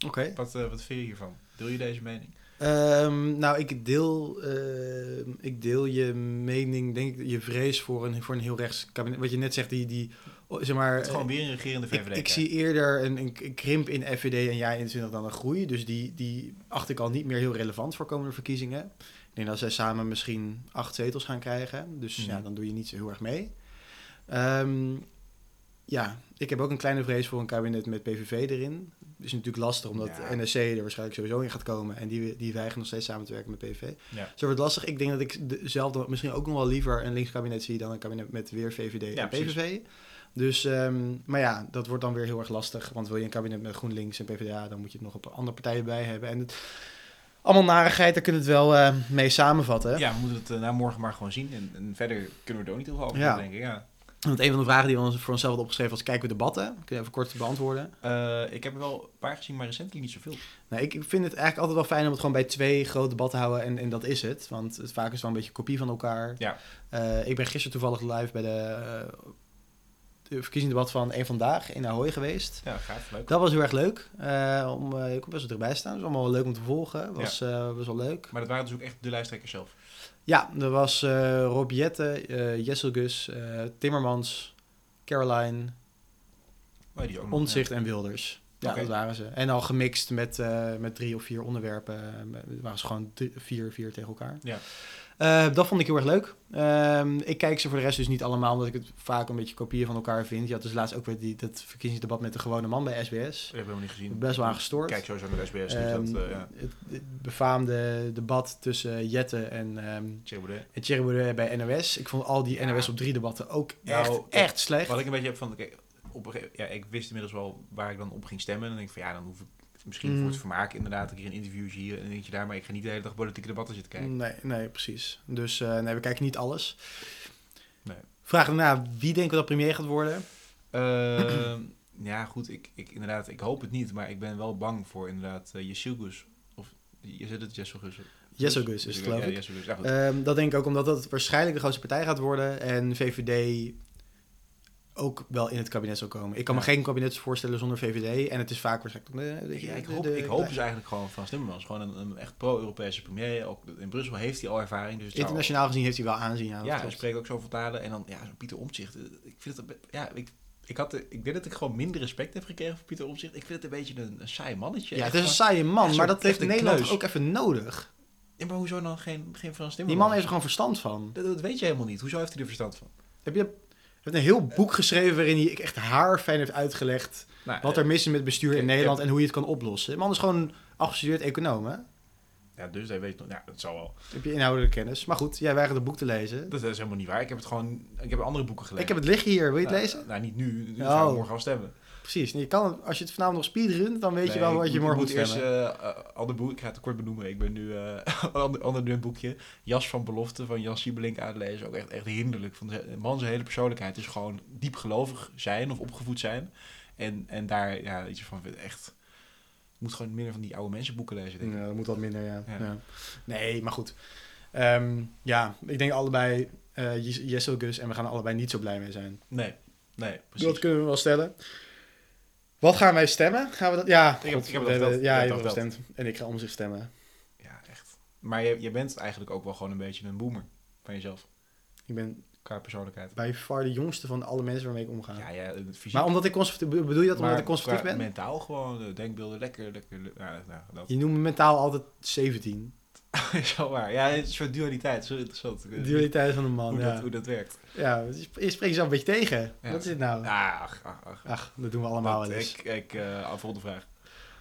A: Oké.
B: Wat, eh, wat vind je hiervan? Deel je deze mening?
A: Ehm, nou, ik deel, ehm, ik deel je mening, denk ik, je vrees voor een, voor een heel rechts kabinet. Wat je net zegt, die, die oh, zeg maar...
B: Het is gewoon
A: eh,
B: weer een regerende VVD.
A: ik, ik zie eerder een, een k- krimp in FVD en jij 21 dan een groei. Dus die, die acht ik al niet meer heel relevant voor komende verkiezingen. Ik denk dat zij samen misschien acht zetels gaan krijgen. Dus
B: Mhm.
A: ja, dan doe je niet zo heel erg mee. Ehm, ja, ik heb ook een kleine vrees voor een kabinet met PVV erin. Is natuurlijk lastig omdat
B: Ja.
A: NSC er waarschijnlijk sowieso in gaat komen. En die, die weigeren nog steeds samen te werken met PVV.
B: Ja.
A: Dus dat wordt lastig. Ik denk dat ik de- zelf dan misschien ook nog wel liever een links kabinet zie dan een kabinet met weer VVD
B: Ja,
A: en PVV. Dus, ehm, maar ja, dat wordt dan weer heel erg lastig. Want wil je een kabinet met GroenLinks en PvdA, dan moet je het nog op andere partijen bij hebben. En het, allemaal narigheid, daar kunnen we het wel eh, mee samenvatten.
B: Ja, we moeten het eh, na morgen maar gewoon zien. En, en verder kunnen we er ook niet heel veel over
A: Ja.
B: denken. Ja.
A: Want een van de vragen die we ons voor onszelf hadden opgeschreven was, kijken we debatten? Kun je even kort beantwoorden?
B: Eh, ik heb er wel een paar gezien, maar recentelijk niet zoveel.
A: Nou, ik ik vind het eigenlijk altijd wel fijn om het gewoon bij twee grote debatten te houden. En, en dat is het. Want het vaak is het wel een beetje kopie van elkaar.
B: Ja.
A: Eh, ik ben gisteren toevallig live bij de, eh, de verkiezingsdebat van Eén Vandaag in Ahoy geweest.
B: Ja, gaaf, leuk.
A: Dat was heel erg leuk. Eh, om, eh, ik kon best wel dichtbij staan. Het was allemaal wel leuk om te volgen. Was, eh was wel leuk.
B: Maar dat waren dus ook echt de lijsttrekkers zelf.
A: Ja, er was eh Rob Jette, eh Jessel Gus, eh, Timmermans, Caroline,
B: Oh, ja, die is ook nog-
A: Omtzigt en Wilders. Ja,
B: Oké.
A: dat waren ze. En al gemixt met, eh, met drie of vier onderwerpen. eh, waren ze gewoon drie- vier, vier tegen elkaar.
B: Ja.
A: Eh, dat vond ik heel erg leuk. Ehm, ik kijk ze voor de rest dus niet allemaal, omdat ik het vaak een beetje kopieën van elkaar vind. Je had dus laatst ook weer die, dat verkiezingsdebat met de gewone man bij SBS.
B: heb ik helemaal niet gezien.
A: Best wel aangestoord.
B: Kijk sowieso naar de SBS. dus
A: Ehm,
B: dat, eh ja.
A: het, het befaamde debat tussen Jette en, ehm
B: Thierry Baudet.
A: en Thierry Baudet bij NOS. Ik vond al die
B: Ja.
A: NOS op drie debatten ook
B: Nou,
A: echt,
B: kijk,
A: echt slecht.
B: Wat ik een beetje heb van, kijk, op een gege- ja, ik wist inmiddels wel waar ik dan op ging stemmen. En dan denk ik van, ja, dan hoef ik misschien
A: Mm.
B: voor het vermaak inderdaad een keer een interviewtje hier en een eentje daar. Maar ik ga niet de hele dag politieke debatten zitten kijken.
A: Nee, nee, precies. Dus eh, nee, we kijken niet alles.
B: Nee.
A: Vraag daarna, wie denken we dat premier gaat worden?
B: Ehm, ja, goed, ik, ik, inderdaad, ik hoop het niet. Maar ik ben wel bang voor inderdaad uh, Yeshilgus. Of, je zit het Jesselgus?
A: Jesselgus is het, geloof
B: Ja,
A: ik.
B: Jesselgus, ja, goed.
A: Ehm, dat denk ik ook omdat dat waarschijnlijk de grootste partij gaat worden. En VVD ook wel in het kabinet zal komen. Ik kan me
B: Ja.
A: geen kabinet voorstellen zonder VVD. En het is vaak waarschijnlijk... eh, weet je,
B: Ja, ik
A: de-
B: hoop,
A: de-
B: ik hoop dus eigenlijk gewoon Frans Timmermans. Gewoon een, een echt pro-Europese premier. Ook in Brussel heeft hij al ervaring. Dus het zou-
A: Internationaal gezien heeft hij wel aanzien. Ja, dat
B: Ja, hij
A: klopt.
B: spreekt ook zoveel talen. En dan, ja, zo'n Pieter Omtzigt. eh, Ik vind het, een be- ja, ik, ik, had, de- ik denk dat ik gewoon minder respect heb gekregen voor Pieter Omtzigt. Ik vind het een beetje een, een saai mannetje.
A: ja,
B: Echt
A: het is een
B: gewoon-
A: saaie man,
B: echt
A: maar
B: zo'n-
A: dat heeft
B: echt een
A: Nederland
B: kneus.
A: ook even nodig.
B: Ja, maar hoezo dan geen, geen Frans
A: Die
B: Timmermans?
A: man heeft er gewoon verstand van.
B: Dat, dat weet je helemaal niet. Hoezo heeft hij er verstand van?
A: Heb je, je hebt een heel boek geschreven waarin hij echt haarfijn heeft uitgelegd...
B: Nou,
A: Wat er mis is met bestuur
B: ik-
A: in Nederland en hoe je het kan oplossen. De man is gewoon afgestudeerd econoom, hè?
B: eh, Ja, dus hij weet nog... Ja, dat zal wel.
A: Heb je inhoudelijke kennis. Maar goed, jij weigert het boek te lezen.
B: Dat is helemaal niet waar. Ik heb het gewoon... Ik heb andere boeken gelezen.
A: Ik heb het liggen hier, wil je het
B: Nou,
A: lezen?
B: Nou, niet nu. Nu
A: Oh.
B: gaan we morgen al stemmen.
A: Precies. Je kan, het- als je het vanavond nog speedrunt, dan weet je
B: Nee,
A: wel
B: ik
A: wat je
B: moet-
A: morgen
B: ik
A: moet
B: moet eerst
A: stemmen.
B: eh, eh, ander boek, ik ga het kort benoemen. Ik ben nu eh ander, ander dun boekje, Jas van Belofte van Jan Siebelink uitlezen. Ook echt, echt hinderlijk. Van de man zijn hele persoonlijkheid is gewoon diep gelovig zijn of opgevoed zijn. En, en daar ja, iets van echt. Ik moet gewoon minder van die oude mensen boeken lezen. Denk ik.
A: Ja, dat moet wat minder, ja.
B: eh, Ja.
A: Ja. Nee, maar goed. Ehm, ja, ik denk allebei eh Jes- Jessel Gus en we gaan er allebei niet zo blij mee zijn.
B: Nee, nee, precies.
A: Dat kunnen we wel stellen. Wat gaan wij stemmen? Gaan we dat? Ja,
B: heb-
A: god,
B: ik heb
A: we
B: het
A: hebben-
B: al verteld.
A: Ja,
B: Ik
A: je
B: heb
A: hebt
B: het al
A: al gestemd. En ik ga om zich stemmen.
B: Ja, echt. Maar je, je bent eigenlijk ook wel gewoon een beetje een boomer van jezelf,
A: Ik ben
B: qua persoonlijkheid.
A: bij far de jongste van alle mensen waarmee ik omga.
B: Ja, ja, het fysiek.
A: Maar omdat ik conservatief... Bedoel je dat omdat
B: maar
A: ik conservatief
B: qua
A: ben?
B: Mentaal gewoon, eh, denkbeelden, lekker, lekker. le- Ja, nou, dat.
A: Je noemt me mentaal altijd 17.
B: is wel waar. Ja, het is een soort dualiteit. Zo interessant. Ik
A: De
B: weet
A: dualiteit van een man,
B: Hoe,
A: ja.
B: dat, hoe dat werkt.
A: Ja, je spreekt jezelf een beetje tegen.
B: Ja.
A: Wat is het nou?
B: Ah, Ach, ach, ach.
A: Ach, dat doen we allemaal
B: Dat-
A: wel eens.
B: Ik, ik eh, volgende vraag.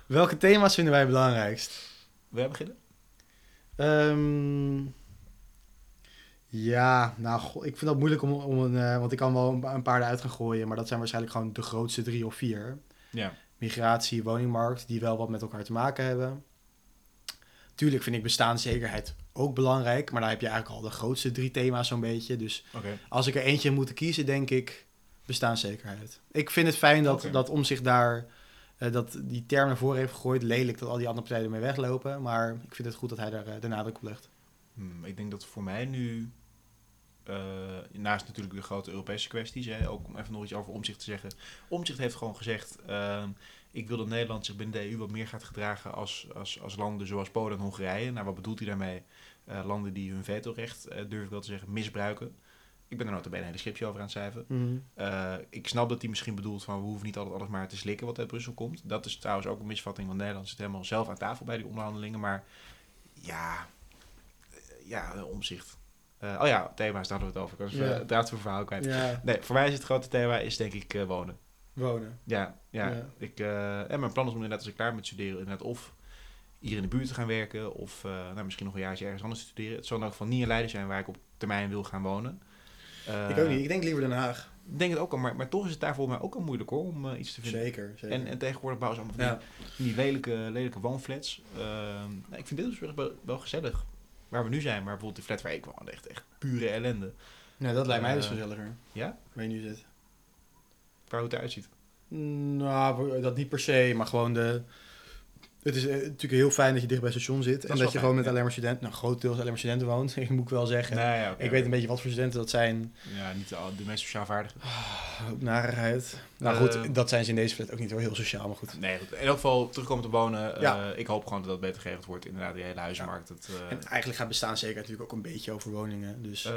A: Welke thema's vinden wij het belangrijkst?
B: Wil jij beginnen?
A: Ehm, ja, nou, goh, ik vind dat moeilijk om, om een... eh, want ik kan wel een, pa- een paar eruit gaan gooien, maar dat zijn waarschijnlijk gewoon de grootste drie of vier.
B: Ja.
A: migratie, woningmarkt, die wel wat met elkaar te maken hebben. Tuurlijk vind ik bestaanszekerheid ook belangrijk, maar daar heb je eigenlijk al de grootste drie thema's zo'n beetje. Dus
B: Oké.
A: als ik er eentje moet kiezen, denk ik bestaanszekerheid. Ik vind het fijn dat,
B: Oké.
A: dat om zich daar eh, dat die term naar voren heeft gegooid. Lelijk dat al die andere partijen ermee weglopen, maar ik vind het goed dat hij daar eh, de nadruk op legt.
B: Hmm, ik denk dat voor mij nu... eh, naast natuurlijk de grote Europese kwesties, hè, ook om even nog iets over Omzicht te zeggen. Omzicht heeft gewoon gezegd: ehm, Ik wil dat Nederland zich binnen de EU wat meer gaat gedragen als, als, als landen zoals Polen en Hongarije. Nou, wat bedoelt hij daarmee? Eh, landen die hun vetorecht, eh, durf ik wel te zeggen, misbruiken. Ik ben er nota bene een hele schipje over aan het schrijven.
A: Mhm.
B: Eh, ik snap dat hij misschien bedoelt van we hoeven niet altijd alles maar te slikken wat uit Brussel komt. Dat is trouwens ook een misvatting, want Nederland zit helemaal zelf aan tafel bij die onderhandelingen. Maar ja, eh, ja, eh, omzicht. Eh, oh ja, thema's, daar hadden we het over. Ik was
A: Ja.
B: eh, het raad voor verhaal kwijt.
A: Ja,
B: Nee, voor mij is het grote thema is denk ik eh, wonen.
A: wonen.
B: Ja, ja.
A: Ja.
B: Ik, eh, en mijn plan is om inderdaad als ik klaar ben met studeren, inderdaad of hier in de buurt te gaan werken, of eh, nou, misschien nog een jaartje ergens anders te studeren. Het zal in elk geval niet in Leiden zijn waar ik op termijn wil gaan wonen. Eh,
A: ik ook niet. Ik denk liever Den Haag.
B: ik denk het ook al, maar, maar toch is het daar volgens mij ook al moeilijk hoor, om eh, iets te vinden.
A: Zeker. zeker.
B: En, en tegenwoordig bouwen ze allemaal van
A: ja.
B: die, van die lelijke, lelijke woonflats. Ehm, nou, ik vind dit dus wel, wel gezellig. Waar we nu zijn, maar bijvoorbeeld de flat waar ik woon, echt, echt pure ellende.
A: Nou, dat lijkt mij dus
B: Eh,
A: gezelliger.
B: ja?
A: Waar je nu zit.
B: Qua hoe het eruit ziet.
A: Nou, dat niet per se, maar gewoon de, Het is eh, natuurlijk heel fijn dat je dicht bij het station zit.
B: is
A: en dat
B: wel
A: je gewoon
B: fijn,
A: met
B: ja.
A: alleen maar studenten, nou grotendeels alleen maar studenten woont, ik moet wel zeggen.
B: Nou ja, oké.
A: Ik weet een beetje wat voor studenten dat zijn.
B: Ja, niet de, de meest sociaal vaardige.
A: Hoop narigheid. Nou
B: Eh,
A: goed, dat zijn ze in deze flat ook niet hoor, heel sociaal, maar goed.
B: Nee, goed. in elk geval terugkomen te wonen. eh,
A: Ja.
B: ik hoop gewoon dat dat beter geregeld wordt. Inderdaad, die hele huizenmarkt. Dat, eh,
A: En eigenlijk gaat bestaanszekerheid natuurlijk ook een beetje over woningen. Dus
B: eh,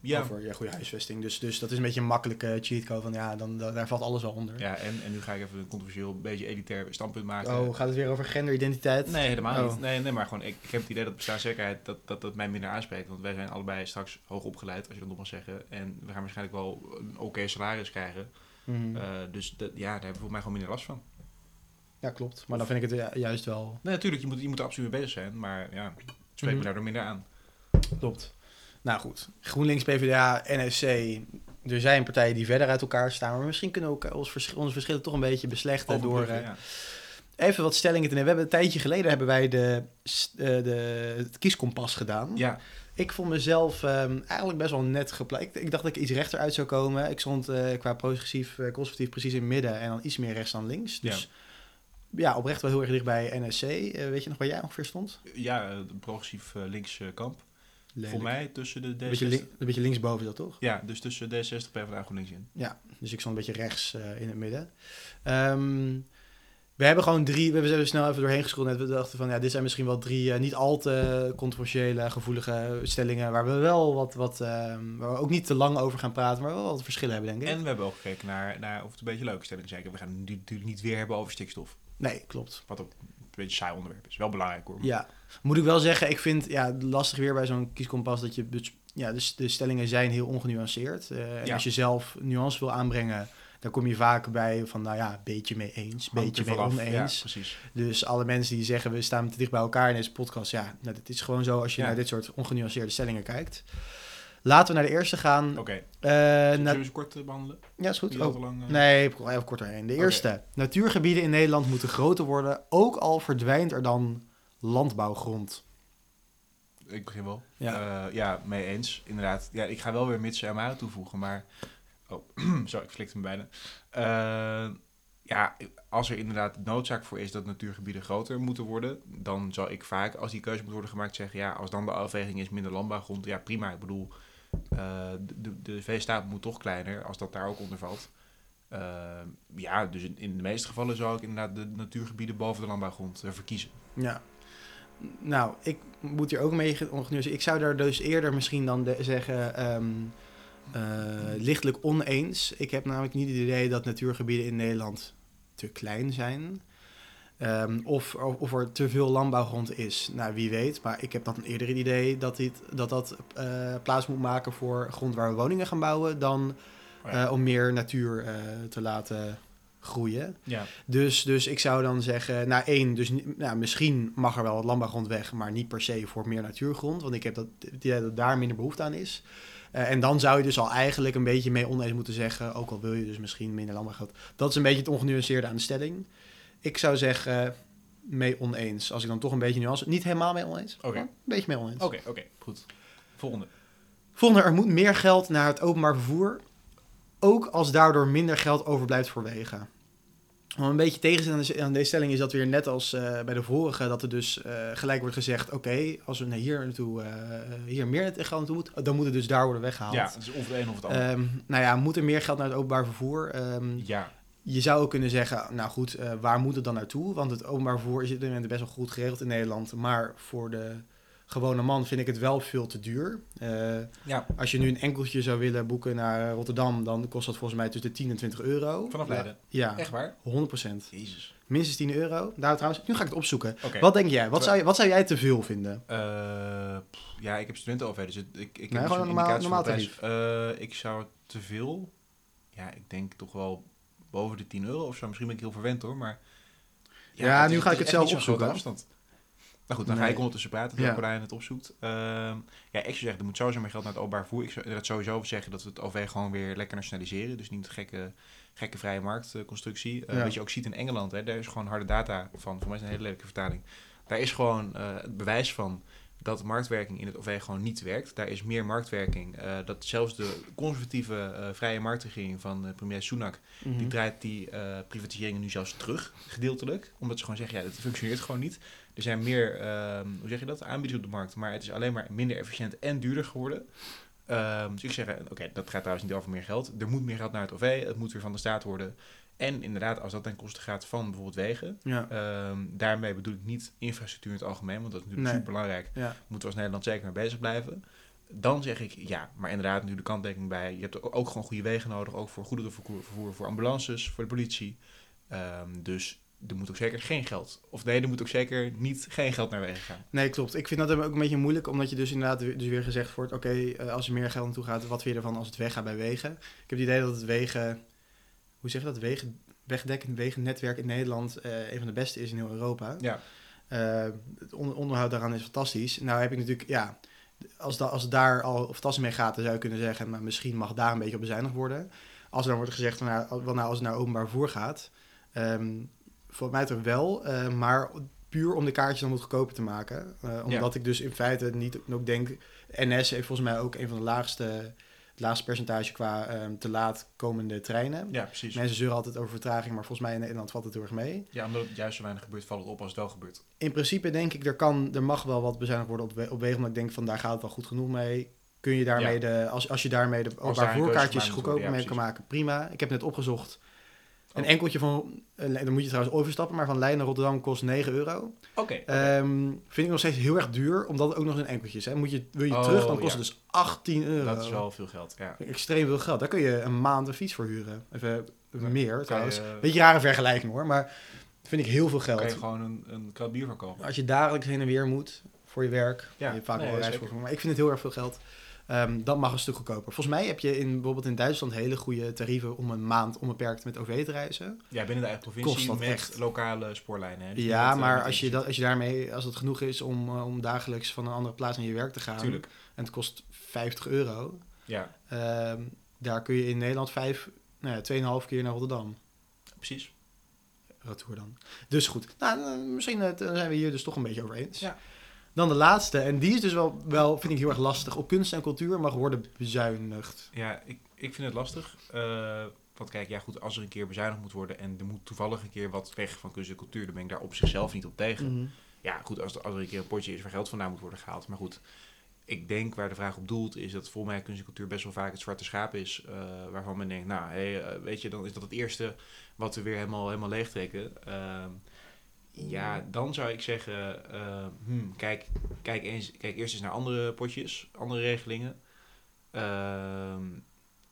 B: ja.
A: over ja, goede huisvesting. Dus, dus dat is een beetje een makkelijke cheatcode van ja, dan, da- daar valt alles wel onder.
B: ja en, en nu ga ik even een controversieel, beetje elitair standpunt maken.
A: Oh, gaat het weer over genderidentiteit?
B: Nee, helemaal
A: Oh.
B: niet. Nee, nee, maar gewoon, ik, ik heb het idee dat bestaanszekerheid dat, dat, dat mij minder aanspreekt. Want wij zijn allebei straks hoog opgeleid, als je dat nog mag zeggen. En we gaan waarschijnlijk wel een oké salaris krijgen.
A: Mhm.
B: Eh, dus dat, ja, daar hebben we volgens mij gewoon minder last van.
A: ja, klopt. Maar dan vind ik het ju- juist wel
B: Nee, natuurlijk, je moet, je moet er absoluut mee bezig zijn. Maar ja, het spreekt
A: Mhm.
B: me daardoor minder aan.
A: Klopt. Nou goed, GroenLinks, PvdA, NSC. Er zijn partijen die verder uit elkaar staan. Maar misschien kunnen we ook ons vers- onze verschillen toch een beetje beslechten door
B: Overbruggen,
A: eh,
B: ja.
A: even wat stellingen te nemen. We hebben een tijdje geleden hebben wij de, s- eh, de, het kieskompas gedaan.
B: ja,
A: Ik vond mezelf ehm, eigenlijk best wel net gepleegd. Ik dacht dat ik iets rechter uit zou komen. Ik stond eh, qua progressief, eh, conservatief precies in het midden en dan iets meer rechts dan links. Dus ja, oprecht wel heel erg dicht bij NSC. Eh, weet je nog waar jij ongeveer stond?
B: ja, eh, progressief eh, links eh, kamp. Voor mij tussen de
A: Een beetje,
B: D66...
A: link- een beetje linksboven is dat toch?
B: Ja, dus tussen D66 PvdA en GroenLinks in.
A: Dus ik stond een beetje rechts eh, in het midden. Ehm, we hebben gewoon drie, we hebben er snel even doorheen gescrollt. net. We dachten van, ja, dit zijn misschien wel drie eh, niet al te controversiële, gevoelige stellingen. Waar we wel wat, wat ehm, waar we ook niet te lang over gaan praten, maar wel wat verschillen hebben, denk ik.
B: En we hebben ook gekeken naar, naar of het een beetje leuke stelling zijn. We gaan het nu- natuurlijk niet weer hebben over stikstof.
A: Nee, klopt.
B: Wat ook een beetje een saai onderwerp is. Wel belangrijk hoor. maar-
A: Ja, moet ik wel zeggen, ik vind ja, lastig weer bij zo'n kieskompas dat je... bes- Ja, dus de stellingen zijn heel ongenuanceerd. Eh, en
B: Ja.
A: als je zelf nuance wil aanbrengen, dan kom je vaak bij van, nou ja, beetje mee eens,
B: Hangt
A: beetje
B: er
A: mee
B: vanaf.
A: oneens.
B: Ja, precies.
A: Dus alle mensen die zeggen we staan te dicht bij elkaar in deze podcast, ja, nou, dat is gewoon zo als je
B: Ja.
A: naar dit soort ongenuanceerde stellingen kijkt. Laten we naar de eerste gaan.
B: Oké,
A: Eh,
B: zullen
A: na-
B: we eens kort eh, behandelen?
A: ja, is goed.
B: Niet al te
A: Oh,
B: lang. eh,
A: nee, ik wil even kort doorheen. De
B: Oké.
A: eerste. Natuurgebieden in Nederland moeten groter worden, ook al verdwijnt er dan landbouwgrond.
B: Ik begin wel.
A: Ja.
B: Ja. ja, mee eens. Inderdaad. Ja, ik ga wel weer mitsen en maren toevoegen, maar... Oh, zo, ik flikte me bijna. Eh, ja, als er inderdaad noodzaak voor is dat natuurgebieden groter moeten worden... dan zal ik vaak, als die keuze moet worden gemaakt, zeggen... ja, als dan de afweging is minder landbouwgrond, ja prima. Ik bedoel, eh, de, de, de veestaat moet toch kleiner, als dat daar ook onder valt. Eh, ja, dus in, in de meeste gevallen zou ik inderdaad de natuurgebieden boven de landbouwgrond eh, verkiezen.
A: Ja. Nou, ik moet hier ook mee ge- ongenuanceerd. Ik zou daar dus eerder misschien dan de- zeggen ehm, eh, lichtelijk oneens. Ik heb namelijk niet het idee dat natuurgebieden in Nederland te klein zijn. Ehm, of, of er te veel landbouwgrond is. Nou, wie weet. Maar ik heb dan eerder het idee dat dit, dat, dat eh, plaats moet maken voor grond waar we woningen gaan bouwen. Dan
B: Oh ja.
A: eh, om meer natuur eh, te laten groeien.
B: Ja,
A: Dus, dus ik zou dan zeggen, nou één, dus, ni- nou, misschien mag er wel wat landbouwgrond weg, maar niet per se voor meer natuurgrond, want ik heb dat, het idee dat daar minder behoefte aan is. Eh, en dan zou je dus al eigenlijk een beetje mee oneens moeten zeggen, ook al wil je dus misschien minder landbouwgrond. Dat is een beetje het ongenuanceerde aan de stelling. Ik zou zeggen, mee oneens, als ik dan toch een beetje nuance, niet helemaal mee oneens,
B: Oké.
A: maar een beetje mee oneens.
B: oké, oké. Goed. Volgende.
A: Volgende, er moet meer geld naar het openbaar vervoer. Ook als daardoor minder geld overblijft voor wegen. Wat een beetje tegen aan deze- aan deze stelling is dat weer net als eh, bij de vorige, dat er dus eh, gelijk wordt gezegd: oké, als we naar hier naartoe, eh, hier meer geld naartoe moet, dan moet het dus daar worden weggehaald.
B: Ja, het is of het een of het ander.
A: Ehm, nou ja, moet er meer geld naar het openbaar vervoer? Ehm,
B: ja,
A: je zou ook kunnen zeggen, nou goed, eh, waar moet het dan naartoe? Want het openbaar vervoer is op dit moment best wel goed geregeld in Nederland. Maar voor de gewone man vind ik het wel veel te duur. Eh,
B: ja,
A: als je nu een enkeltje zou willen boeken naar Rotterdam, dan kost dat volgens mij tussen de 10 en 20 euro.
B: vanaf Leiden.
A: Ja,
B: Echt waar?
A: 100%.
B: Jezus.
A: Minstens 10 euro. Nou trouwens, nu ga ik het opzoeken.
B: Oké.
A: Wat denk jij? Wat zou, je- wat zou jij te veel vinden?
B: Eh, pff, ja, ik heb studenten dus het- ik, ik
A: Nee,
B: heb
A: gewoon
B: een
A: een normaal-
B: indicatie
A: normaal
B: van de prijs. Eh, ik zou het te veel, ja, ik denk toch wel boven de 10 euro of zo. Misschien ben ik heel verwend hoor, maar...
A: Ja,
B: is-
A: nu ga ik
B: is
A: het
B: echt
A: zelf
B: niet zo'n grote
A: opzoeken.
B: afstand. Nou goed, dan ga
A: Nee.
B: ik ondertussen praten, terwijl
A: Ja.
B: Brian het opzoekt. Ehm, ja, ik zou zeggen, er moet sowieso meer geld naar het openbaar vervoer. Ik zou inderdaad sowieso zeggen dat we het OV gewoon weer lekker nationaliseren. Dus niet gekke, gekke vrije marktconstructie. Eh,
A: Ja.
B: Wat je ook ziet in Engeland, hè, daar is gewoon harde data van. Voor mij is het een hele lelijke vertaling. Daar is gewoon eh, het bewijs van dat marktwerking in het OV gewoon niet werkt. Daar is meer marktwerking. eh, dat zelfs de conservatieve eh, vrije marktregering van eh, premier Sunak... die
A: Mhm.
B: draait die eh, privatiseringen nu zelfs terug, gedeeltelijk. Omdat ze gewoon zeggen, ja, dat functioneert gewoon niet. Er zijn meer, ehm, hoe zeg je dat, aanbieders op de markt. Maar het is alleen maar minder efficiënt en duurder geworden. Ehm, dus ik zeg, eh, oké, dat gaat trouwens niet over meer geld. Er moet meer geld naar het OV, het moet weer van de staat worden. En inderdaad, als dat ten koste gaat van bijvoorbeeld wegen...
A: Ja.
B: Ehm, daarmee bedoel ik niet infrastructuur in het algemeen, want dat is natuurlijk
A: Nee.
B: super belangrijk.
A: Ja.
B: Moeten we als Nederland zeker mee bezig blijven. Dan zeg ik ja, maar inderdaad, nu de kanttekening bij. Je hebt ook ook gewoon goede wegen nodig, ook voor goederenvervoer, vervoer, voor ambulances, voor de politie. Ehm, dus er moet ook zeker geen geld. Of nee, er moet ook zeker niet geen geld naar wegen gaan.
A: Nee, klopt. Ik vind dat ook een beetje moeilijk, omdat je dus inderdaad weer- dus weer gezegd wordt... oké, eh, als er meer geld naartoe gaat, wat vind je ervan als het weggaat bij wegen? Ik heb het idee dat het wegen... Hoe zeg je dat? Wegen, wegdekkend wegennetwerk in Nederland eh, een van de beste is in heel Europa.
B: Ja,
A: Eh, het on- onderhoud daaraan is fantastisch. Nou heb ik natuurlijk, ja... Als, da, als het daar al fantastisch mee gaat, dan zou je kunnen zeggen... maar misschien mag daar een beetje op bezuinigd worden. Als er dan wordt gezegd, van, nou, wel, nou, als het naar openbaar voer gaat... ehm volgens mij toch wel, eh, maar puur om de kaartjes dan wat goedkoper te maken. Eh, omdat ik dus in feite niet ook denk... NS heeft volgens mij ook een van de laagste... het laagste percentage qua ehm, te laat komende treinen.
B: ja precies.
A: Mensen zeuren altijd over vertraging, maar volgens mij in Nederland valt het heel erg mee.
B: Ja, omdat het juist zo weinig gebeurt, valt het op als het wel gebeurt.
A: In principe denk ik, er, kan, er mag wel wat bezuinigd worden op, we- op wegen. Omdat ik denk, van daar gaat het wel goed genoeg mee. Kun je daarmee
B: Ja.
A: de, als, als je daarmee de
B: daar
A: openbaar
B: een keuze
A: voorkaartjes
B: gemaakt moet
A: goedkoper
B: worden, ja,
A: mee kan maken, prima. Ik heb net opgezocht. Een
B: Oh.
A: enkeltje van, eh, dan moet je trouwens overstappen, maar van Leiden naar Rotterdam kost 9 euro.
B: Oké.
A: Ehm, vind ik nog steeds heel erg duur, omdat het ook nog eens een enkeltje is. Hè. Moet je, wil je
B: Oh,
A: terug, dan kost
B: ja.
A: het dus 18 euro.
B: dat is wel veel geld. Ja.
A: Extreem veel geld. Daar kun je een maand een fiets voor huren. Even meer
B: Kan
A: trouwens.
B: je,
A: Beetje rare vergelijking hoor, maar vind ik heel veel geld.
B: kan je gewoon een, een krat bier van kopen.
A: Als je dagelijks heen en weer moet voor je werk,
B: Ja,
A: je hebt vaak
B: nee,
A: wel
B: zeker.
A: reisvoer, maar ik vind het heel erg veel geld. Ehm dat mag een stuk goedkoper. Volgens mij heb je in, bijvoorbeeld in Duitsland hele goede tarieven om een maand onbeperkt met OV te reizen.
B: Ja, binnen de eigen provincie
A: Kost dat
B: met
A: echt.
B: lokale spoorlijnen. hè. Dus
A: ja,
B: niet, eh,
A: maar
B: niet
A: als je,
B: eentje.
A: dat, als je daarmee, als dat genoeg is om, eh, om dagelijks van een andere plaats naar je werk te gaan,
B: Tuurlijk,
A: en het kost 50 euro,
B: ja,
A: ehm, daar kun je in Nederland vijf, nou ja, 2,5 keer naar Rotterdam.
B: precies.
A: Retour dan. Dus goed. Nou, eh, misschien eh, dan zijn we hier dus toch een beetje over eens.
B: Ja.
A: Dan de laatste. En die is dus wel, wel, vind ik heel erg lastig. Op kunst en cultuur mag worden bezuinigd.
B: Ja, ik, ik vind het lastig. eh, want kijk, ja goed, als er een keer bezuinigd moet worden en er moet toevallig een keer wat weg van kunst en cultuur, dan ben ik daar op zichzelf niet op tegen. Ja, goed, als, er- als er een keer een potje is waar geld vandaan moet worden gehaald. Maar goed, ik denk waar de vraag op doelt is dat volgens mij kunst en cultuur best wel vaak het zwarte schaap is. eh, waarvan men denkt, nou, hey, eh, weet je, dan is dat het eerste wat we weer helemaal, helemaal leegtrekken. Ehm, ja, dan zou ik zeggen, eh, hmm, kijk, kijk, eens, kijk eerst eens naar andere potjes, andere regelingen. Ehm,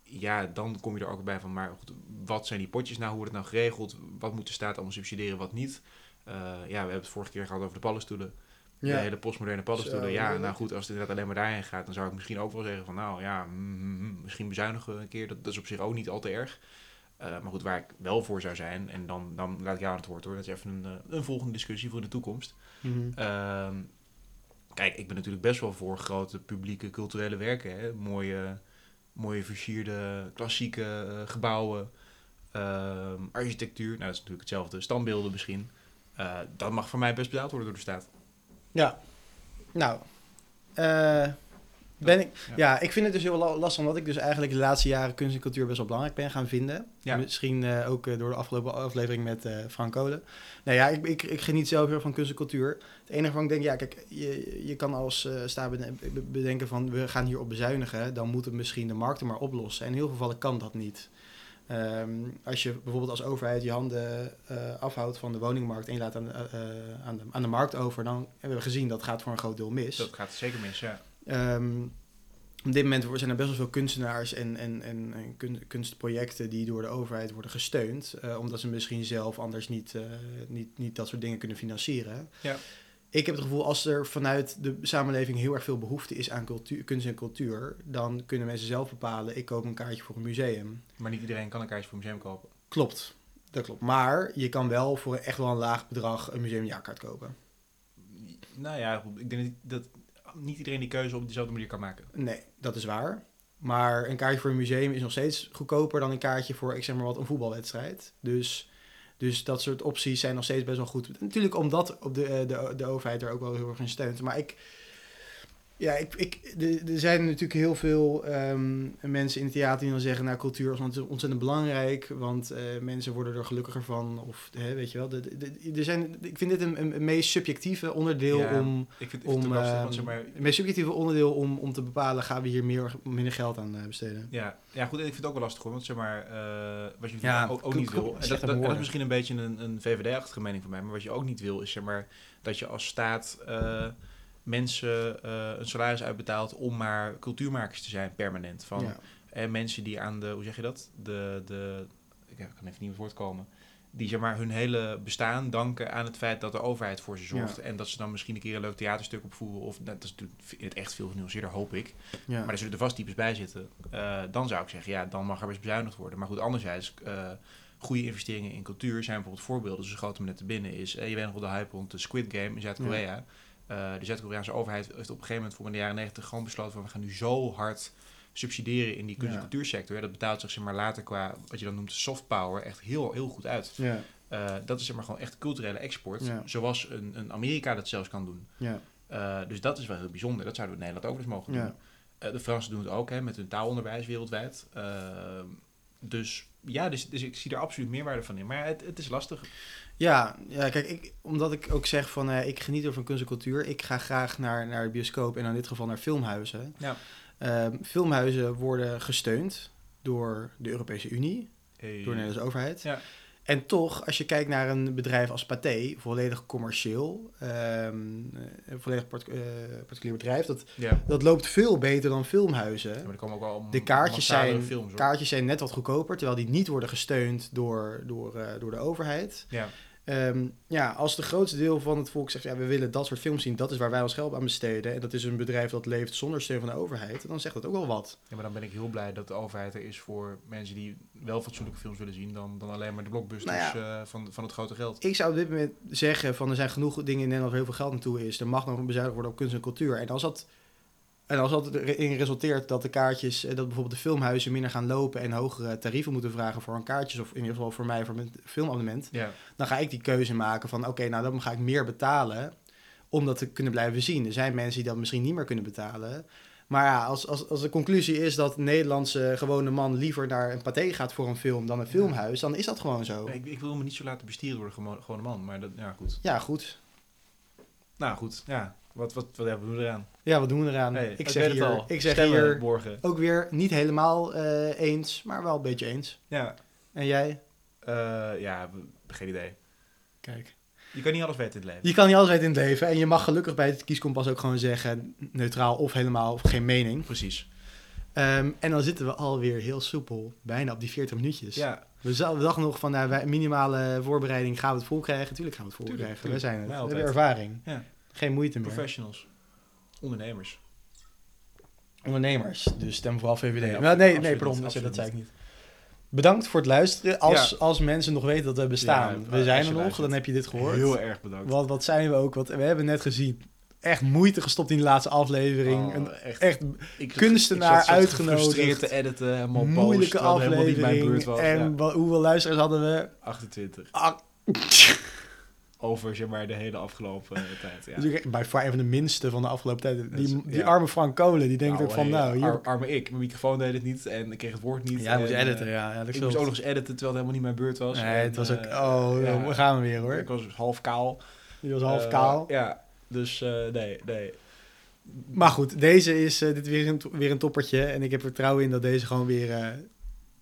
B: ja, dan kom je er ook bij van, maar goed, wat zijn die potjes nou? Hoe wordt het nou geregeld? Wat moet de staat allemaal subsidiëren, wat niet? Eh, ja, we hebben het vorige keer gehad over de paddenstoelen. De hele postmoderne paddenstoelen.
A: Zo,
B: ja, nou
A: moeilijk.
B: goed, als het inderdaad alleen maar daarheen gaat, dan zou ik misschien ook wel zeggen van nou ja, mm, mm, mm, misschien bezuinigen we een keer. Dat, dat is op zich ook niet al te erg. Eh, maar goed, waar ik wel voor zou zijn, en dan, dan laat ik jou aan het woord hoor. Dat is even een, eh, een volgende discussie voor in de toekomst.
A: Mhm.
B: Ehm, kijk, ik ben natuurlijk best wel voor grote publieke culturele werken. Hè? Mooie, mooie versierde klassieke eh, gebouwen, ehm, architectuur. Nou, dat is natuurlijk hetzelfde. Standbeelden misschien. Eh, dat mag voor mij best betaald worden door de staat.
A: Ja. Nou. eh, ben ik,
B: Ja.
A: ja. ik vind het dus heel la- lastig, omdat ik dus eigenlijk de laatste jaren kunst en cultuur best wel belangrijk ben gaan vinden.
B: Ja.
A: Misschien eh, ook eh, door de afgelopen aflevering met eh, Frank Kolen. Nou ja, ik, ik, ik geniet zelf heel erg van kunst en cultuur. Het enige van ik denk, ja, kijk, je, je kan als eh staat beden- be- bedenken van we gaan hierop bezuinigen, dan moet het misschien de markt er maar oplossen. En in heel veel gevallen kan dat niet. Ehm, als je bijvoorbeeld als overheid je handen eh, afhoudt van de woningmarkt en je laat aan, eh, eh, aan, de, aan de markt over, dan hebben we gezien dat gaat voor een groot deel mis.
B: Dat gaat zeker mis, ja.
A: Ehm, op dit moment zijn er best wel veel kunstenaars en, en, en, en kun- kunstprojecten die door de overheid worden gesteund. eh, omdat ze misschien zelf anders niet, eh, niet, niet dat soort dingen kunnen financieren.
B: Ja.
A: Ik heb het gevoel, als er vanuit de samenleving heel erg veel behoefte is aan cultuur, kunst en cultuur, dan kunnen mensen zelf bepalen, ik koop een kaartje voor een museum.
B: Maar niet iedereen kan een kaartje voor een museum kopen.
A: Klopt, dat klopt. Maar je kan wel voor echt wel een laag bedrag een museumjaarkaart kopen.
B: Nou ja, goed, ik denk dat niet iedereen die keuze op dezelfde manier kan maken.
A: Nee, dat is waar. Maar een kaartje voor een museum is nog steeds goedkoper dan een kaartje voor, ik zeg maar wat, een voetbalwedstrijd. Dus, dus dat soort opties zijn nog steeds best wel goed. Natuurlijk omdat op de, eh, de, de overheid er ook wel heel erg in steunt. Maar ik, Ja, ik, ik, de- er zijn natuurlijk heel veel ehm, mensen in het theater die dan zeggen... nou, cultuur is ont- ontzettend belangrijk, want eh, mensen worden er gelukkiger van. Of, hè, weet je wel, de, de- de- er zijn, ik vind dit een, een, een meest subjectieve onderdeel
B: Ja,
A: om...
B: Ik vind, ik vind het
A: om
B: ook lastig,
A: ehm,
B: want zeg maar...
A: een meest subjectieve onderdeel om, om te bepalen... gaan we hier meer of minder geld aan eh, besteden.
B: Ja, ja, goed, en ik vind het ook wel lastig hoor, want zeg maar, eh, wat je
A: Ja,
B: natuurlijk ook, ook
A: klopt,
B: niet
A: klopt.
B: wil, en
A: Slecht aan
B: dat, dat, en dat
A: woorden.
B: is misschien een beetje een, een VVD-achtige mening van mij, maar wat je ook niet wil is zeg maar, dat je als staat eh, mensen eh, een salaris uitbetaalt om maar cultuurmakers te zijn permanent. Van,
A: Ja.
B: En mensen die aan de, hoe zeg je dat? De, de, ik kan even niet op het woord komen. Die zeg maar hun hele bestaan danken aan het feit dat de overheid voor ze zorgt.
A: Ja.
B: En dat ze dan misschien een keer een leuk theaterstuk opvoeren. Of nou, dat is natuurlijk in het echt veel genuanceerder, hoop ik.
A: Ja.
B: Maar er zullen er vast types bij zitten. Eh, dan zou ik zeggen, ja, dan mag er best bezuinigd worden. Maar goed, anderzijds, eh, goede investeringen in cultuur zijn bijvoorbeeld voorbeelden. Dus Ze schoten me net te binnen. Is, eh, je weet nog wel de hype rond de Squid Game in Zuid-Korea. Eh, de Zuid-Koreaanse overheid heeft op een gegeven moment voor in de jaren negentig gewoon besloten van we gaan nu zo hard subsidiëren in die kunst- en
A: Ja.
B: cultuursector. Dat betaalt zich zeg maar later qua wat je dan noemt soft power echt heel, heel goed uit.
A: Ja,
B: Eh, dat is zeg maar gewoon echt culturele export.
A: Ja.
B: Zoals een, een Amerika dat zelfs kan doen.
A: ja,
B: Eh, dus dat is wel heel bijzonder. Dat zouden we in Nederland ook eens mogen doen.
A: ja.
B: Eh, de Fransen doen het ook hè, met hun taalonderwijs wereldwijd. Ehm, dus ja, dus, dus ik zie er absoluut meerwaarde van in. Maar het, het is lastig.
A: Ja, ja, kijk, ik, omdat ik ook zeg van eh, ik geniet er van kunst en cultuur. Ik ga graag naar, naar de bioscoop en in dit geval naar filmhuizen.
B: Ja.
A: Ehm, filmhuizen worden gesteund door de Europese Unie, door de Nederlandse overheid.
B: Ja.
A: En toch, als je kijkt naar een bedrijf als Pathé, volledig commercieel, ehm, een volledig part- eh, particulier bedrijf, dat,
B: Ja, maar
A: dat loopt veel beter dan filmhuizen.
B: er komen ook al
A: De kaartjes
B: massale
A: zijn,
B: films, hoor.
A: kaartjes zijn net wat goedkoper, terwijl die niet worden gesteund door, door, eh, door de overheid.
B: Ja,
A: Ehm, ja, als de grootste deel van het volk zegt, ja, we willen dat soort films zien, dat is waar wij ons geld aan besteden. En dat is een bedrijf dat leeft zonder steun van de overheid, dan zegt dat ook wel wat.
B: Ja, maar dan ben ik heel blij dat de overheid er is voor mensen die wel fatsoenlijke films willen zien dan, dan alleen maar de blockbusters
A: Nou
B: eh, van, van het grote geld.
A: Ik zou op dit moment zeggen van er zijn genoeg dingen in Nederland waar heel veel geld naartoe is. Er mag nog bezuinigd worden op kunst en cultuur. En als dat, en als dat erin resulteert dat de kaartjes, eh, dat bijvoorbeeld de filmhuizen minder gaan lopen en hogere tarieven moeten vragen voor hun kaartjes, of in ieder geval voor mij voor mijn filmabonnement,
B: Ja,
A: dan ga ik die keuze maken van oké, nou dan ga ik meer betalen om dat te kunnen blijven zien. Er zijn mensen die dat misschien niet meer kunnen betalen. Maar ja, als, als, als de conclusie is dat een Nederlandse gewone man liever naar een paté gaat voor een film dan een
B: Ja.
A: filmhuis, dan is dat gewoon zo.
B: ik, ik wil me niet zo laten bestieren door de gemo- gewone man, maar dat, ja goed.
A: Ja, goed.
B: Nou goed, ja, wat, wat, wat hebben we eraan?
A: Ja, wat doen we eraan?
B: Hey,
A: ik
B: weet
A: zeg
B: het
A: hier,
B: al.
A: ik zeg
B: Stemmen
A: hier
B: morgen.
A: ook weer niet helemaal eh, eens, maar wel een beetje eens.
B: Ja,
A: En jij?
B: eh, ja, we- geen idee.
A: Kijk.
B: Je kan niet alles weten in het leven.
A: Je kan niet alles weten in het leven en je mag gelukkig bij het kieskompas ook gewoon zeggen neutraal of helemaal of geen mening.
B: Precies.
A: Ehm, en dan zitten we alweer heel soepel, bijna op die 40 minuutjes.
B: Ja,
A: We za- we dachten nog van, nou, bij minimale voorbereiding gaan we het vol krijgen. Tuurlijk gaan we het vol
B: Tuurlijk,
A: krijgen.
B: tuurlijk.
A: We zijn het.
B: Wij
A: we hebben
B: altijd.
A: ervaring.
B: Ja.
A: Geen moeite meer.
B: professionals. Ondernemers.
A: Ondernemers, dus stem vooral VVD.
B: Nee,
A: Nou,
B: absoluut-
A: nee, nee,
B: absoluut
A: pardon,
B: niet,
A: dat, zei- dat zei ik
B: absoluut
A: niet. Bedankt voor het luisteren. Als, als mensen nog weten dat we bestaan,
B: Ja,
A: we
B: als
A: zijn
B: je
A: er nog,
B: luistert.
A: dan heb je dit gehoord.
B: Heel erg bedankt.
A: wat, wat zijn we ook? Wat, we hebben net gezien, echt moeite gestopt in de laatste aflevering.
B: Oh,
A: Een-
B: echt.
A: echt
B: Ik zat-
A: kunstenaar
B: ik zat zo
A: uitgenodigd.
B: gefrustreerd te editen, helemaal boos,
A: moeilijke
B: terwijl het helemaal
A: aflevering.
B: niet mijn beurt was.
A: en
B: Ja,
A: wa- hoeveel luisteraars hadden we?
B: 28.
A: Ah,
B: Over zeg maar de hele afgelopen eh, tijd. Ja.
A: Dus ik- bij far een van de minste van de afgelopen tijd. Die,
B: is-
A: die
B: ja.
A: arme Frank Kolen, die denkt ook van,
B: hey,
A: nou, hier...
B: ar- arme ik. Mijn microfoon deed het niet en ik kreeg het woord niet. en, eh,
A: ja.
B: ik moest ook nog eens editen terwijl het helemaal niet mijn beurt was.
A: Nee,
B: En,
A: het was ook...
B: eh,
A: Oh,
B: ja.
A: daar gaan we weer, hoor.
B: Ik was half kaal.
A: Die was half
B: Eh,
A: kaal.
B: Ja, dus eh, nee, nee.
A: Maar goed, deze is eh, dit is weer, een, to- weer een toppertje. En ik heb vertrouwen in dat deze gewoon weer eh,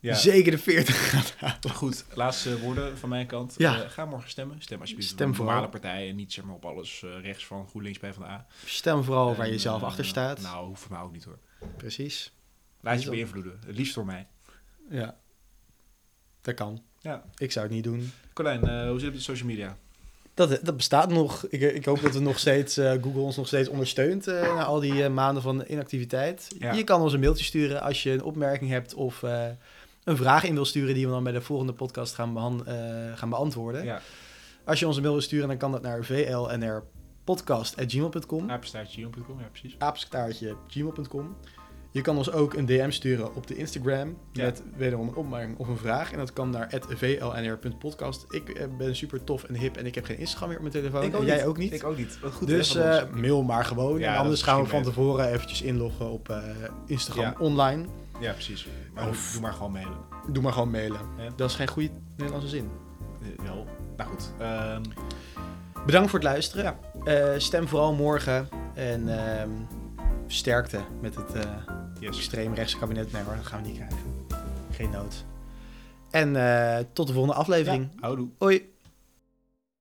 B: Ja.
A: zeker de 40 gaat halen.
B: Goed, laatste woorden van mijn kant.
A: Ja.
B: Eh, ga morgen stemmen. Stem alsjeblieft
A: Stem
B: op een normale
A: vooral.
B: partij en niet zeg maar op alles eh, rechts van GroenLinks, PvdA.
A: Stem vooral waar
B: En,
A: je zelf
B: eh,
A: achter staat.
B: Nou, hoeft voor mij ook niet hoor.
A: Precies.
B: Laat je
A: Zo.
B: beïnvloeden. Het liefst door mij.
A: Ja. Dat kan.
B: Ja.
A: Ik zou het niet doen.
B: Colijn, eh, hoe zit het met de social media?
A: Dat, dat bestaat nog. Ik, ik hoop dat we nog steeds, eh, Google ons nog steeds ondersteunt eh, na al die eh, maanden van inactiviteit.
B: Ja.
A: Je kan ons een mailtje sturen als je een opmerking hebt of eh, een vraag in wil sturen die we dan bij de volgende podcast gaan, behan- eh, gaan beantwoorden.
B: Ja,
A: Als je ons een mail wil sturen, dan kan dat naar vlnrpodcast.gmail.com.
B: apenstaartje.com, ja precies.
A: Apenstaartje gmail.com. Je kan ons ook een DM sturen op de Instagram
B: Ja.
A: met wederom een opmerking of een vraag. En dat kan naar vlnr.podcast. Ik eh, ben super tof en hip en ik heb geen Instagram meer op mijn telefoon. en jij ook niet.
B: Ik ook niet. Wat goed
A: dus
B: hè, van
A: eh,
B: ons.
A: mail maar gewoon.
B: Ja,
A: en
B: dat
A: anders
B: is
A: gaan we van
B: misschien
A: tevoren eventjes inloggen op eh, Instagram
B: Ja.
A: online.
B: ja, precies. Maar
A: of-
B: doe maar gewoon mailen.
A: Doe maar gewoon mailen.
B: Ja.
A: Dat is geen goede Nederlandse zin.
B: Eh, wel. Nou goed. Ehm,
A: Bedankt voor het luisteren. Eh, stem vooral morgen. En ehm, sterkte met het eh
B: yes.
A: extreemrechtse kabinet. Nee hoor, dat gaan we niet krijgen. Geen nood. En eh, tot de volgende aflevering.
B: Ja, houdoe.
A: Hoi.